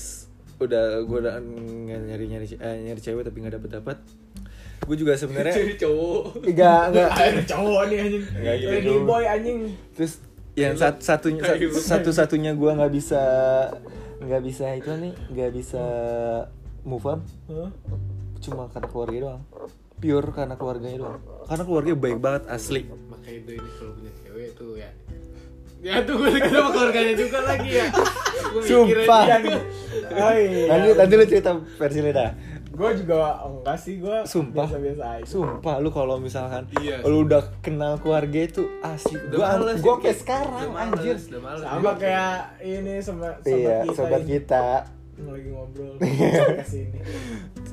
B: udah gue udah nyari nyari nyari cewek tapi nggak dapet dapet. Gue juga sebenarnya
C: Jadi cowok.
D: enggak enggak
A: Ada cowok nih anjing.
B: Nggak gitu
A: Lady
B: dong.
A: boy anjing.
B: terus yang Iya, sat- satunya satu satunya gue nggak bisa nggak bisa itu nih nggak bisa move on
A: Hah?
B: cuma karena keluarga doang pure karena keluarganya doang karena keluarga baik banget asli
C: Makanya itu ini kalau punya cewek tuh ya. Ya tuh gue deket sama keluarganya juga lagi ya. Gue mikir
B: Sumpah.
A: Iya,
C: aja.
A: Oh iya.
B: nanti nanti lu cerita versi lu dah
A: Gue juga oh, enggak sih gue
B: Sumpah.
A: biasa-biasa aja.
B: Sumpah lu kalau misalkan
C: Iya.
B: lu udah kenal keluarga itu asli
C: Udah
B: gua
C: males,
B: gua
C: jadi
B: kayak
C: kayak-
B: sekarang
C: udah males,
B: anjir.
C: Udah males.
A: sama kayak ini sama sobat
B: Iya,
A: kita
B: sobat
A: ini.
B: kita.
A: lagi ngobrol kesini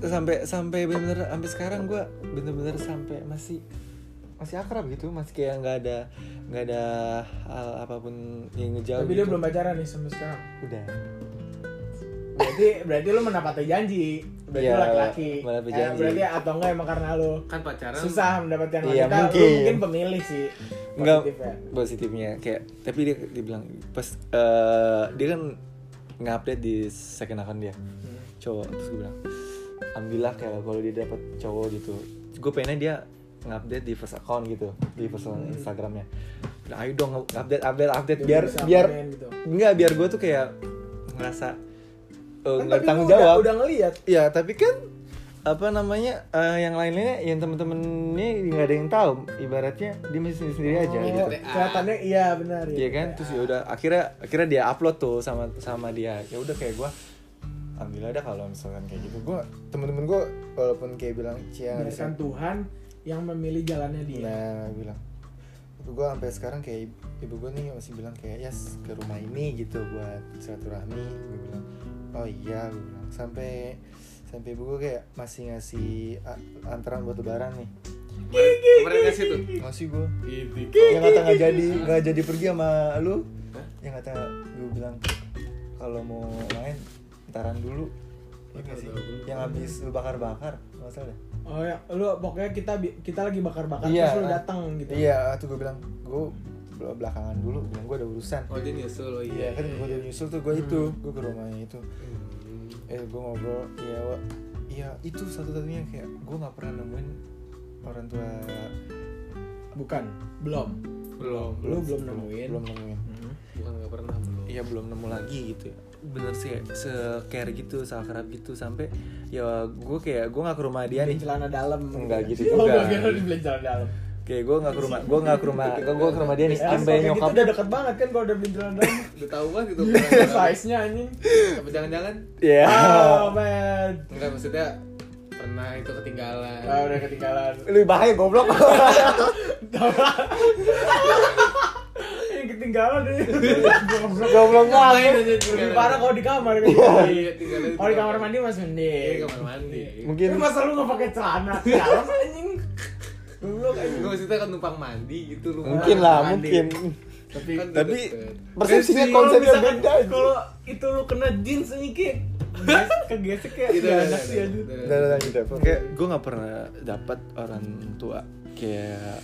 B: Sampai sampai bener-bener sampai sekarang gua bener-bener sampai masih masih akrab gitu, masih kayak nggak ada nggak ada hal apapun yang ngejauh.
A: tapi dia
B: gitu.
A: belum pacaran nih sampai sekarang
B: udah.
A: berarti berarti lu menepati janji berarti
B: Iya,
A: lu laki-laki
B: menepati
A: Eh,
B: janji.
A: berarti atau enggak emang karena lu
C: Kan pacaran.
A: susah mendapatkan
B: Iya,
A: wanita
B: mungkin.
A: lu mungkin pemilih sih
B: Enggak
A: Positif ya.
B: positifnya kayak tapi dia dibilang pas eh, dia kan nge-update di second account dia.
A: Hmm.
B: cowok terus gue bilang alhamdulillah kayak kalau dia dapat cowok gitu gue pengennya dia ngupdate di first account gitu di first account Instagramnya Bilang, ayo dong update update update
A: Hmm. Dia
B: biar
A: berusaha
B: biar
A: main gitu.
B: nggak biar gue tuh kayak ngerasa eh,
A: Kan
B: nggak
A: tadi
B: tanggung
A: lu udah-
B: jawab
A: udah ngeliat
B: ya tapi kan apa namanya eh, yang lain-lainnya yang temen-temennya nggak ada yang tahu ibaratnya dia masih sendiri-sendiri aja
A: Oh,
B: gitu
A: kelihatannya iya benar
B: Iya kan, terus ya udah akhirnya akhirnya dia upload tuh sama sama dia. Ya udah kayak gua alhamdulillah dah kalau misalkan kayak gitu.
D: gue temen-temen gue walaupun kayak bilang
B: Iya,
D: cia nggak bisa
A: biarkan Tuhan yang memilih jalannya dia
D: nah bilang tapi gue sampai sekarang kayak ibu- ibu gue nih masih bilang kayak yes ke rumah ini gitu buat silaturahmi gue bilang oh iya gue bilang sampai sampai ibu gue kayak masih ngasih a- antaran buat lebaran nih
C: Kemarin- Kemarin kan ngasih tuh.
D: masih gue
C: Gitu.
D: yang kata nggak jadi nggak jadi pergi sama lu yang kata gue bilang kalau mau main antaran dulu Iya nggak sih? yang habis lu bakar-bakar nggak salah deh
A: oh ya lu pokoknya kita bi- kita lagi bakar-bakar
D: Iya,
A: terus lu
D: kan?
A: datang gitu
D: Iya, tuh gue bilang gue bel- belakangan dulu, bilang gue ada urusan.
C: Oh dia nyusul oh
D: Iya
C: iya.
D: kan gue udah nyusul tuh gue itu,
B: Hmm.
D: gue ke rumahnya itu.
C: Hmm,
D: Eh gue ngobrol, iya Wak. iya itu satu-satunya kayak gue nggak pernah nemuin orang tua
A: bukan belum
C: Belum.
A: lu belum nemuin
D: belum nemuin.
A: Hmm.
C: Bukan nggak pernah belum.
B: Iya belum nemu lagi gitu. Bener sih se care gitu, se akrab gitu sampai ya gue kayak gue nggak ke rumah dia
A: Beli
B: Iya nih.
A: celana dalam
B: Enggak gitu
A: oh,
B: juga.
A: gua kira lu beli celana dalam
B: Kayak gue nggak ke rumah, gue nggak ke rumah, gue ke rumah dia nih
A: Eh,
B: sampai
A: kalau kayak
B: nyokap.
A: gitu udah deket banget kan kalau udah beli celana dalam
C: Udah tahu banget gitu.
A: size nya anjing
C: Apa jangan-jangan?
B: Iya.
A: oh man
C: Enggak maksudnya pernah itu ketinggalan.
A: Ah, udah ketinggalan
B: Lu bahaya goblok.
A: yang ketinggalan deh
B: goblok banget.
C: Ngapain aja
A: lebih
C: ketinggalan?
A: parah kalau di kamar kan
C: Iya, ketinggalan.
A: kalau di kamar mandi masih
C: Iya,
A: mending
C: kamar mandi.
B: Mungkin
A: Tapi masa lu nggak pakai celana dalam anjing lu anjing
C: Gue maksudnya kan numpang mandi gitu lu.
B: mungkin lah,
A: Mandi.
B: mungkin.
A: tapi
C: Kan udah
B: Tapi
C: deket.
B: persepsinya
A: Kalau
B: konsepnya
A: misalkan-
B: beda. anjing.
A: kalau itu lu kena jeans anjing kayak kegesek kayak
C: Gitu,
A: nggak
C: udah,
A: enak
C: udah,
A: sih anjing.
C: udah,
D: Udah
C: udah.
D: udah udah, udah. Oke.
B: kayak gue nggak pernah dapat orang tua kayak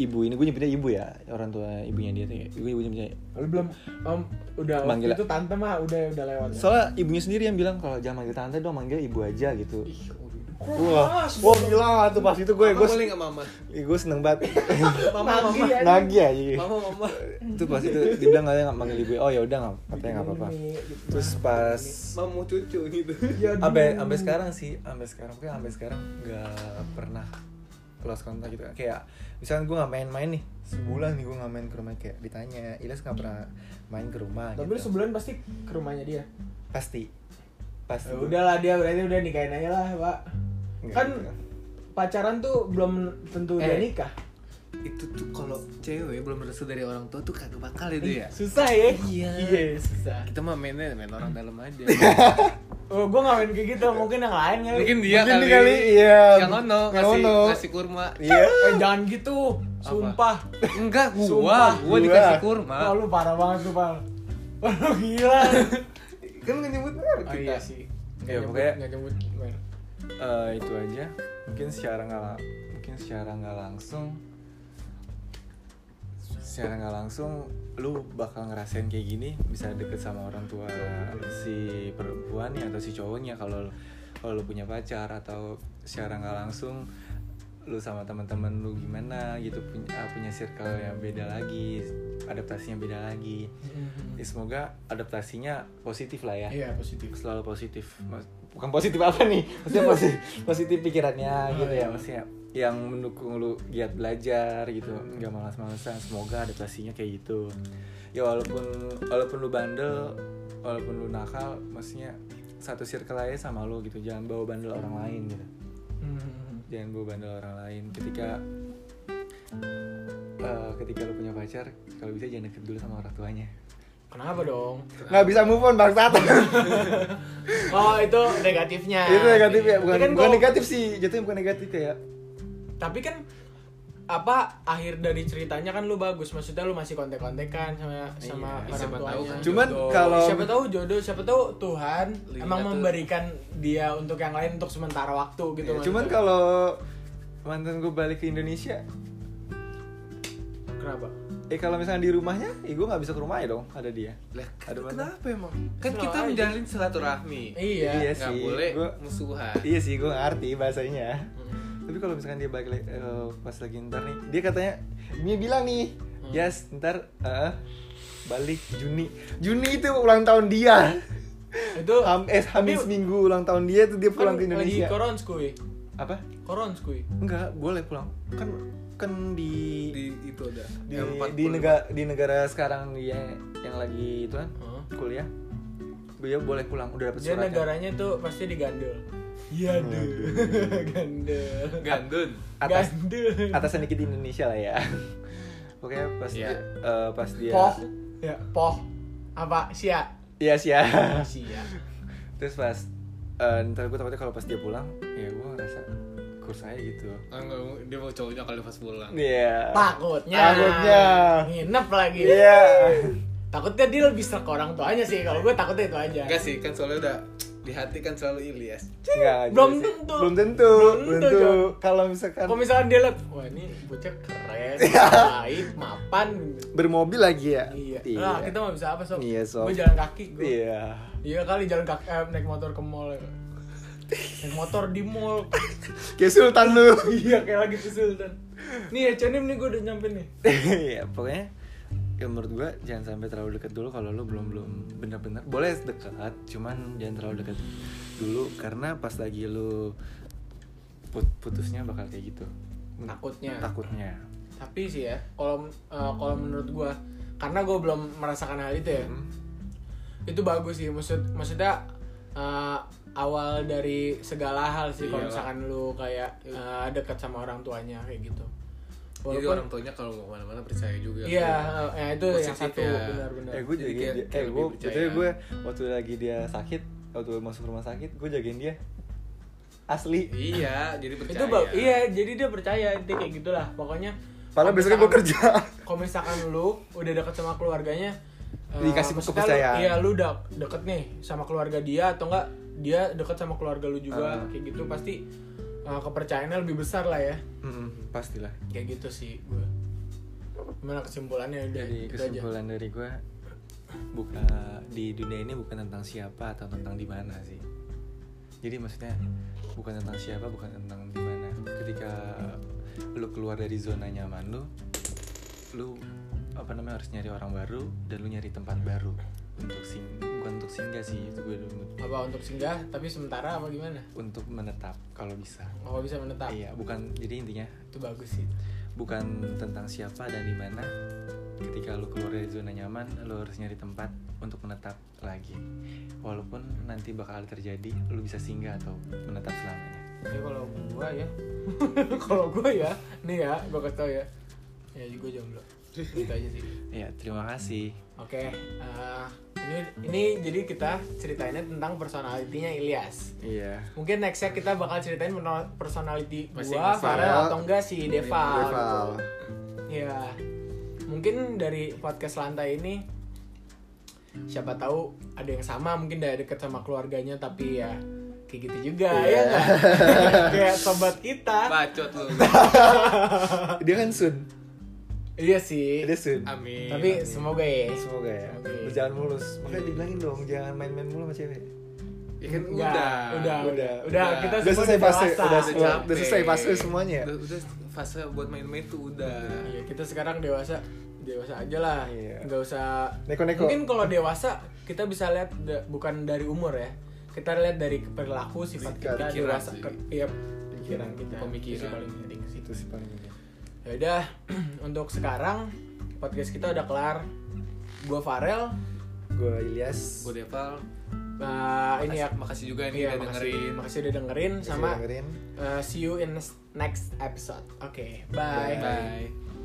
B: ibu ini gue nyebutnya ibu ya orang tua ibunya dia tuh ya gue ibu nyebutnya
A: Lu belum om udah waktu
B: Manggil- ya?
A: itu tante mah udah udah lewat.
B: soalnya ibunya sendiri yang bilang kalau jangan manggil tante dong manggil ibu aja gitu
C: Ih, waduh.
B: wah wah gila tuh pas itu gue
C: Mama
B: gue
C: boleh nggak mama?
B: gue seneng banget
C: Mama, mama,
A: Nagih, anjing.
B: nagih aja
C: mama, mama.
B: itu pas itu dibilang katanya nggak manggil ibu oh ya udah nggak katanya nggak apa-apa
A: Ini, gitu.
B: terus pas
C: Mama cucu gitu.
A: Ya,
B: sampai sampai sekarang sih sampai sekarang kayak sampai sekarang nggak pernah
D: lost contact gitu kan kayak misalkan gue nggak main-main nih sebulan nih gue nggak main ke rumah kayak ditanya Iles nggak pernah main ke rumah
A: Tapi
D: gitu.
A: lu sebulan pasti ke rumahnya dia.
D: pasti pasti
A: Ya udahlah dia berarti udah nikahin aja lah, Pak.
D: Nggak
A: Kan
D: gitu kan.
A: pacaran tuh belum tentu udah
C: Eh.
A: nikah.
C: itu tuh kalau cewek belum restu dari orang tua tuh kagak bakal itu ya
A: Susah ya?
C: Iya.
A: Iya, susah.
C: kita mah mainnya main orang dalam aja
A: Oh, gue gak main kayak gitu, mungkin yang lain kali.
C: mungkin dia
D: Mungkin
C: kali,
D: dia kali, iya.
C: yang ono
D: Yang
C: ngasih
D: ono.
C: ngasih kurma
D: iya
A: Eh, jangan gitu, sumpah.
C: enggak
A: Sumpah,
C: gua gua
D: gua.
C: dikasih kurma
A: Wah, lu parah banget tuh, Pal. Wah, lu gila.
D: kan nggak nyebut merek
A: Oh
D: kita
A: iya sih.
B: Ya, pokoknya-
A: nggak nyebut. merek.
B: Eh, itu aja mungkin secara nggak la- mungkin secara nggak langsung secara nggak langsung lu bakal ngerasain kayak gini bisa deket sama orang tua si perempuannya atau si cowoknya kalau kalau lu punya pacar atau secara nggak langsung lu sama teman-teman lu gimana gitu punya ah, punya circle yang beda lagi adaptasinya beda lagi
A: Mm-hmm.
B: Ya, semoga adaptasinya positif lah ya
A: Iya, positif.
B: selalu positif Mas- Iya. bukan positif apa nih maksudnya positif, positif pikirannya gitu ya maksudnya yang mendukung lu giat belajar gitu nggak malas-malasan semoga adaptasinya kayak gitu ya walaupun walaupun lu bandel walaupun lu nakal maksudnya satu circle aja sama lu gitu jangan bawa bandel orang lain gitu
A: Hmm.
B: jangan bawa bandel orang lain ketika eh, ketika lu punya pacar kalau bisa jangan deket dulu sama orang tuanya
A: Kenapa dong?
D: nggak bisa move on bangsat
A: Oh, itu negatifnya.
D: itu negatif ya bukan
A: Tapi Iya. kan
D: bukan
A: kalau-
D: negatif sih jatuhnya bukan negatif ya
A: tapi kan apa akhir dari ceritanya kan lu bagus maksudnya lu masih kontek-kontekan sama sama
C: Iya,
A: orang
C: siapa
A: tuanya
C: tahu kan
D: Cuman
C: jodoh.
D: kalau-
A: siapa tahu jodoh siapa tahu Tuhan emang
C: Lu ingat tuh.
A: memberikan dia untuk yang lain untuk sementara waktu gitu
D: Iya,
A: maksudnya.
D: cuman kalau mantan gue balik ke Indonesia
A: kenapa
D: eh kalau misalnya di rumahnya eh gue nggak bisa ke rumahnya dong ada dia
C: Lah,
D: Ada mana?
C: kenapa emang kan
A: Senang
C: kita
A: aja.
C: menjalin silaturahmi
A: iya,
D: Iya.
C: nggak
D: sih,
C: boleh
D: gua-
A: Ah.
C: musuhan
D: iya sih gue ngerti bahasanya tapi kalau misalkan dia balik lagi- eh, pas lagi ntar nih dia katanya dia bilang nih
A: Hmm.
D: Jas ntar eh, balik Juni Juni itu ulang tahun dia
A: itu
D: Ham, eh Hamis
A: Tapi-
D: minggu ulang tahun dia tuh dia
A: kan
D: pulang ke Indonesia
A: lagi korons kuy
D: apa
A: korons kuy
D: enggak boleh pulang kan kan di
C: di itu ada
D: di,
C: Yang 40.
D: di negara di negara sekarang dia yang lagi itu kan
A: Heeh.
D: kuliah dia boleh pulang udah dapet
A: dia
D: suratnya
A: negaranya tuh pasti digandel iya
D: Oh,
A: deh gandel
C: gandun
D: atas
A: gandel
D: atasan dikit di Indonesia lah ya oke pas
C: Iya.
D: dia, eh, pas dia
A: poh ya poh apa sia
D: iya sih ya
A: sia
B: terus pas eh, ntar gue takutnya kalau pas dia pulang ya gue ngerasa kurs aja gitu
C: Ah, nggak, dia mau cowoknya kali pas pulang
D: iya
A: Takutnya.
D: Takutnya.
A: Nginep lagi.
D: iya
A: Takutnya dia lebih serak ke orang tuanya sih. Kalau gue takutnya itu aja.
C: enggak sih kan soalnya udah di hati kan selalu Ilyas
D: Nggak,
A: Belum
D: jelas sih.
A: tentu.
D: belum tentu
A: Belum
D: belum
A: tentu,
D: tentu
A: Jon.
D: kalau misalkan
A: Kalau misalkan dia liat, wah ini bocah keren,
D: Iya.
A: baik, mapan.
D: bermobil lagi ya
A: Iya. Nah, kita mau bisa apa sob?
D: Iya, Sob.
A: Gue jalan kaki. Gua.
D: iya
A: Iya kali jalan kaki eh, naik motor ke mall. ya. Naik motor di mall.
D: kayak Sultan lu
A: iya kayak lagi ke Sultan. Nih H&M nih gue udah nyampe nih.
D: iya pokoknya
B: pokoknya ya menurut gue jangan sampai terlalu dekat dulu kalau lu belum belum bener-bener boleh dekat cuman jangan terlalu dekat dulu karena pas lagi lu put- putusnya bakal kayak gitu
D: Hmm.
A: Takutnya.
B: takutnya
A: Tapi sih ya, kalau eh, kalau menurut gue, karena gue belum merasakan hal itu ya.
C: Hmm.
A: itu bagus sih maksud maksudnya eh, awal dari segala hal sih kalau
C: Iyalah.
A: misalkan lu kayak eh, dekat sama orang tuanya kayak gitu
C: jadi
A: walaupun
C: orang tuanya kalau mau kemana-mana percaya juga
A: iya eh, ya, itu yang
C: Positif
A: satu
C: ya.
A: benar-benar
D: eh gue
C: Jadi kayak-
D: jagain dia
C: kayak
D: eh
C: lebih
D: gue
C: percaya.
D: betulnya gue waktu lagi dia sakit waktu masuk rumah sakit gue jagain dia asli
C: iya jadi percaya
A: itu ba- iya jadi dia percaya dia kayak gitulah pokoknya
D: padahal
A: kalau
D: besoknya
A: misalkan-
D: gue kerja
A: kalau misalkan lu udah dekat sama keluarganya eh,
D: Dikasih
A: maksudnya lu-
D: kepercayaan.
A: iya lu udah deket nih sama keluarga dia atau enggak dia deket sama keluarga lu juga kayak gitu pasti eh, kepercayaannya lebih besar lah ya
B: Mm-mm, pastilah
A: kayak gitu sih gue gimana kesimpulannya udah
B: jadi
A: gitu
B: kesimpulan dari gue buka di dunia ini bukan tentang siapa atau tentang di mana sih jadi maksudnya bukan tentang siapa bukan tentang di mana ketika lu keluar dari zona nyaman lu lu apa namanya harus nyari orang baru dan lu nyari tempat baru untuk sing bukan bukan untuk singgah sih itu gue dulu
A: apa untuk singgah tapi sementara apa gimana
B: untuk menetap kalau bisa
A: apa bisa menetap
B: iya bukan jadi intinya
A: itu bagus sih
B: bukan tentang siapa dan di mana ketika lu keluar dari zona nyaman lu harus nyari tempat untuk menetap lagi walaupun nanti bakal terjadi lu bisa singgah atau menetap selamanya
A: ya kalau gua ya kalau gua ya nih ya gua kasih tau ya ya gua jomblo gitu aja sih
B: ya terima kasih
A: oke eh, ini ini jadi kita ceritainnya tentang personalitinya Ilyas
B: iya
A: mungkin nextnya kita bakal ceritain menol- personality gua
C: Masing-masing.
A: Farel atau enggak si Deva
D: Iya, Deval.
A: gitu. ya mungkin dari podcast lantai ini siapa tahu ada yang sama mungkin dari deket sama keluarganya tapi ya kayak gitu juga
D: Iya.
A: ya nggak? kayak sobat kita
C: bacot lu
D: Dia kan Sun.
A: iya sih
D: Dia Sun.
C: amin
A: tapi semoga ya
D: Iya. Semoga ya.
A: Semoga.
D: Berjalan mulus. Makanya dibilangin dong jangan main-main mulu sama cewek.
C: ya kan
A: Nggak,
C: udah
A: udah udah
D: Udah.
A: udah
C: Udah.
A: kita
D: Udah
A: semua
D: selesai fase,
A: dewasa.
D: udah
C: udah
D: semua-
C: capek.
D: udah selesai fase semuanya.
C: udah, udah fase buat main-main tuh udah
A: Iya, kita sekarang dewasa dewasa aja lah
D: Iya.
A: nggak usah
B: Eh,
D: Neko-neko.
A: mungkin kalau dewasa kita bisa lihat da- bukan dari umur ya kita lihat dari perilaku sifat
D: Sikap,
A: kita
C: pikiran
A: dewasa
C: sih.
A: ke, iya, pikiran
D: Pikiran,
A: kita
C: pemikiran.
A: Itu sih paling penting sih
D: Itu sih paling penting.
A: ya udah untuk sekarang podcast kita udah kelar gue Farel
D: Gue Ilyas.
C: gue Deval
A: Nah, ini ya
C: makasih juga nih
A: iya,
C: udah dengerin
A: makasih udah dengerin
D: Kasih
A: sama eh,
D: dengerin.
A: uh, see you in next episode oke bye.
C: bye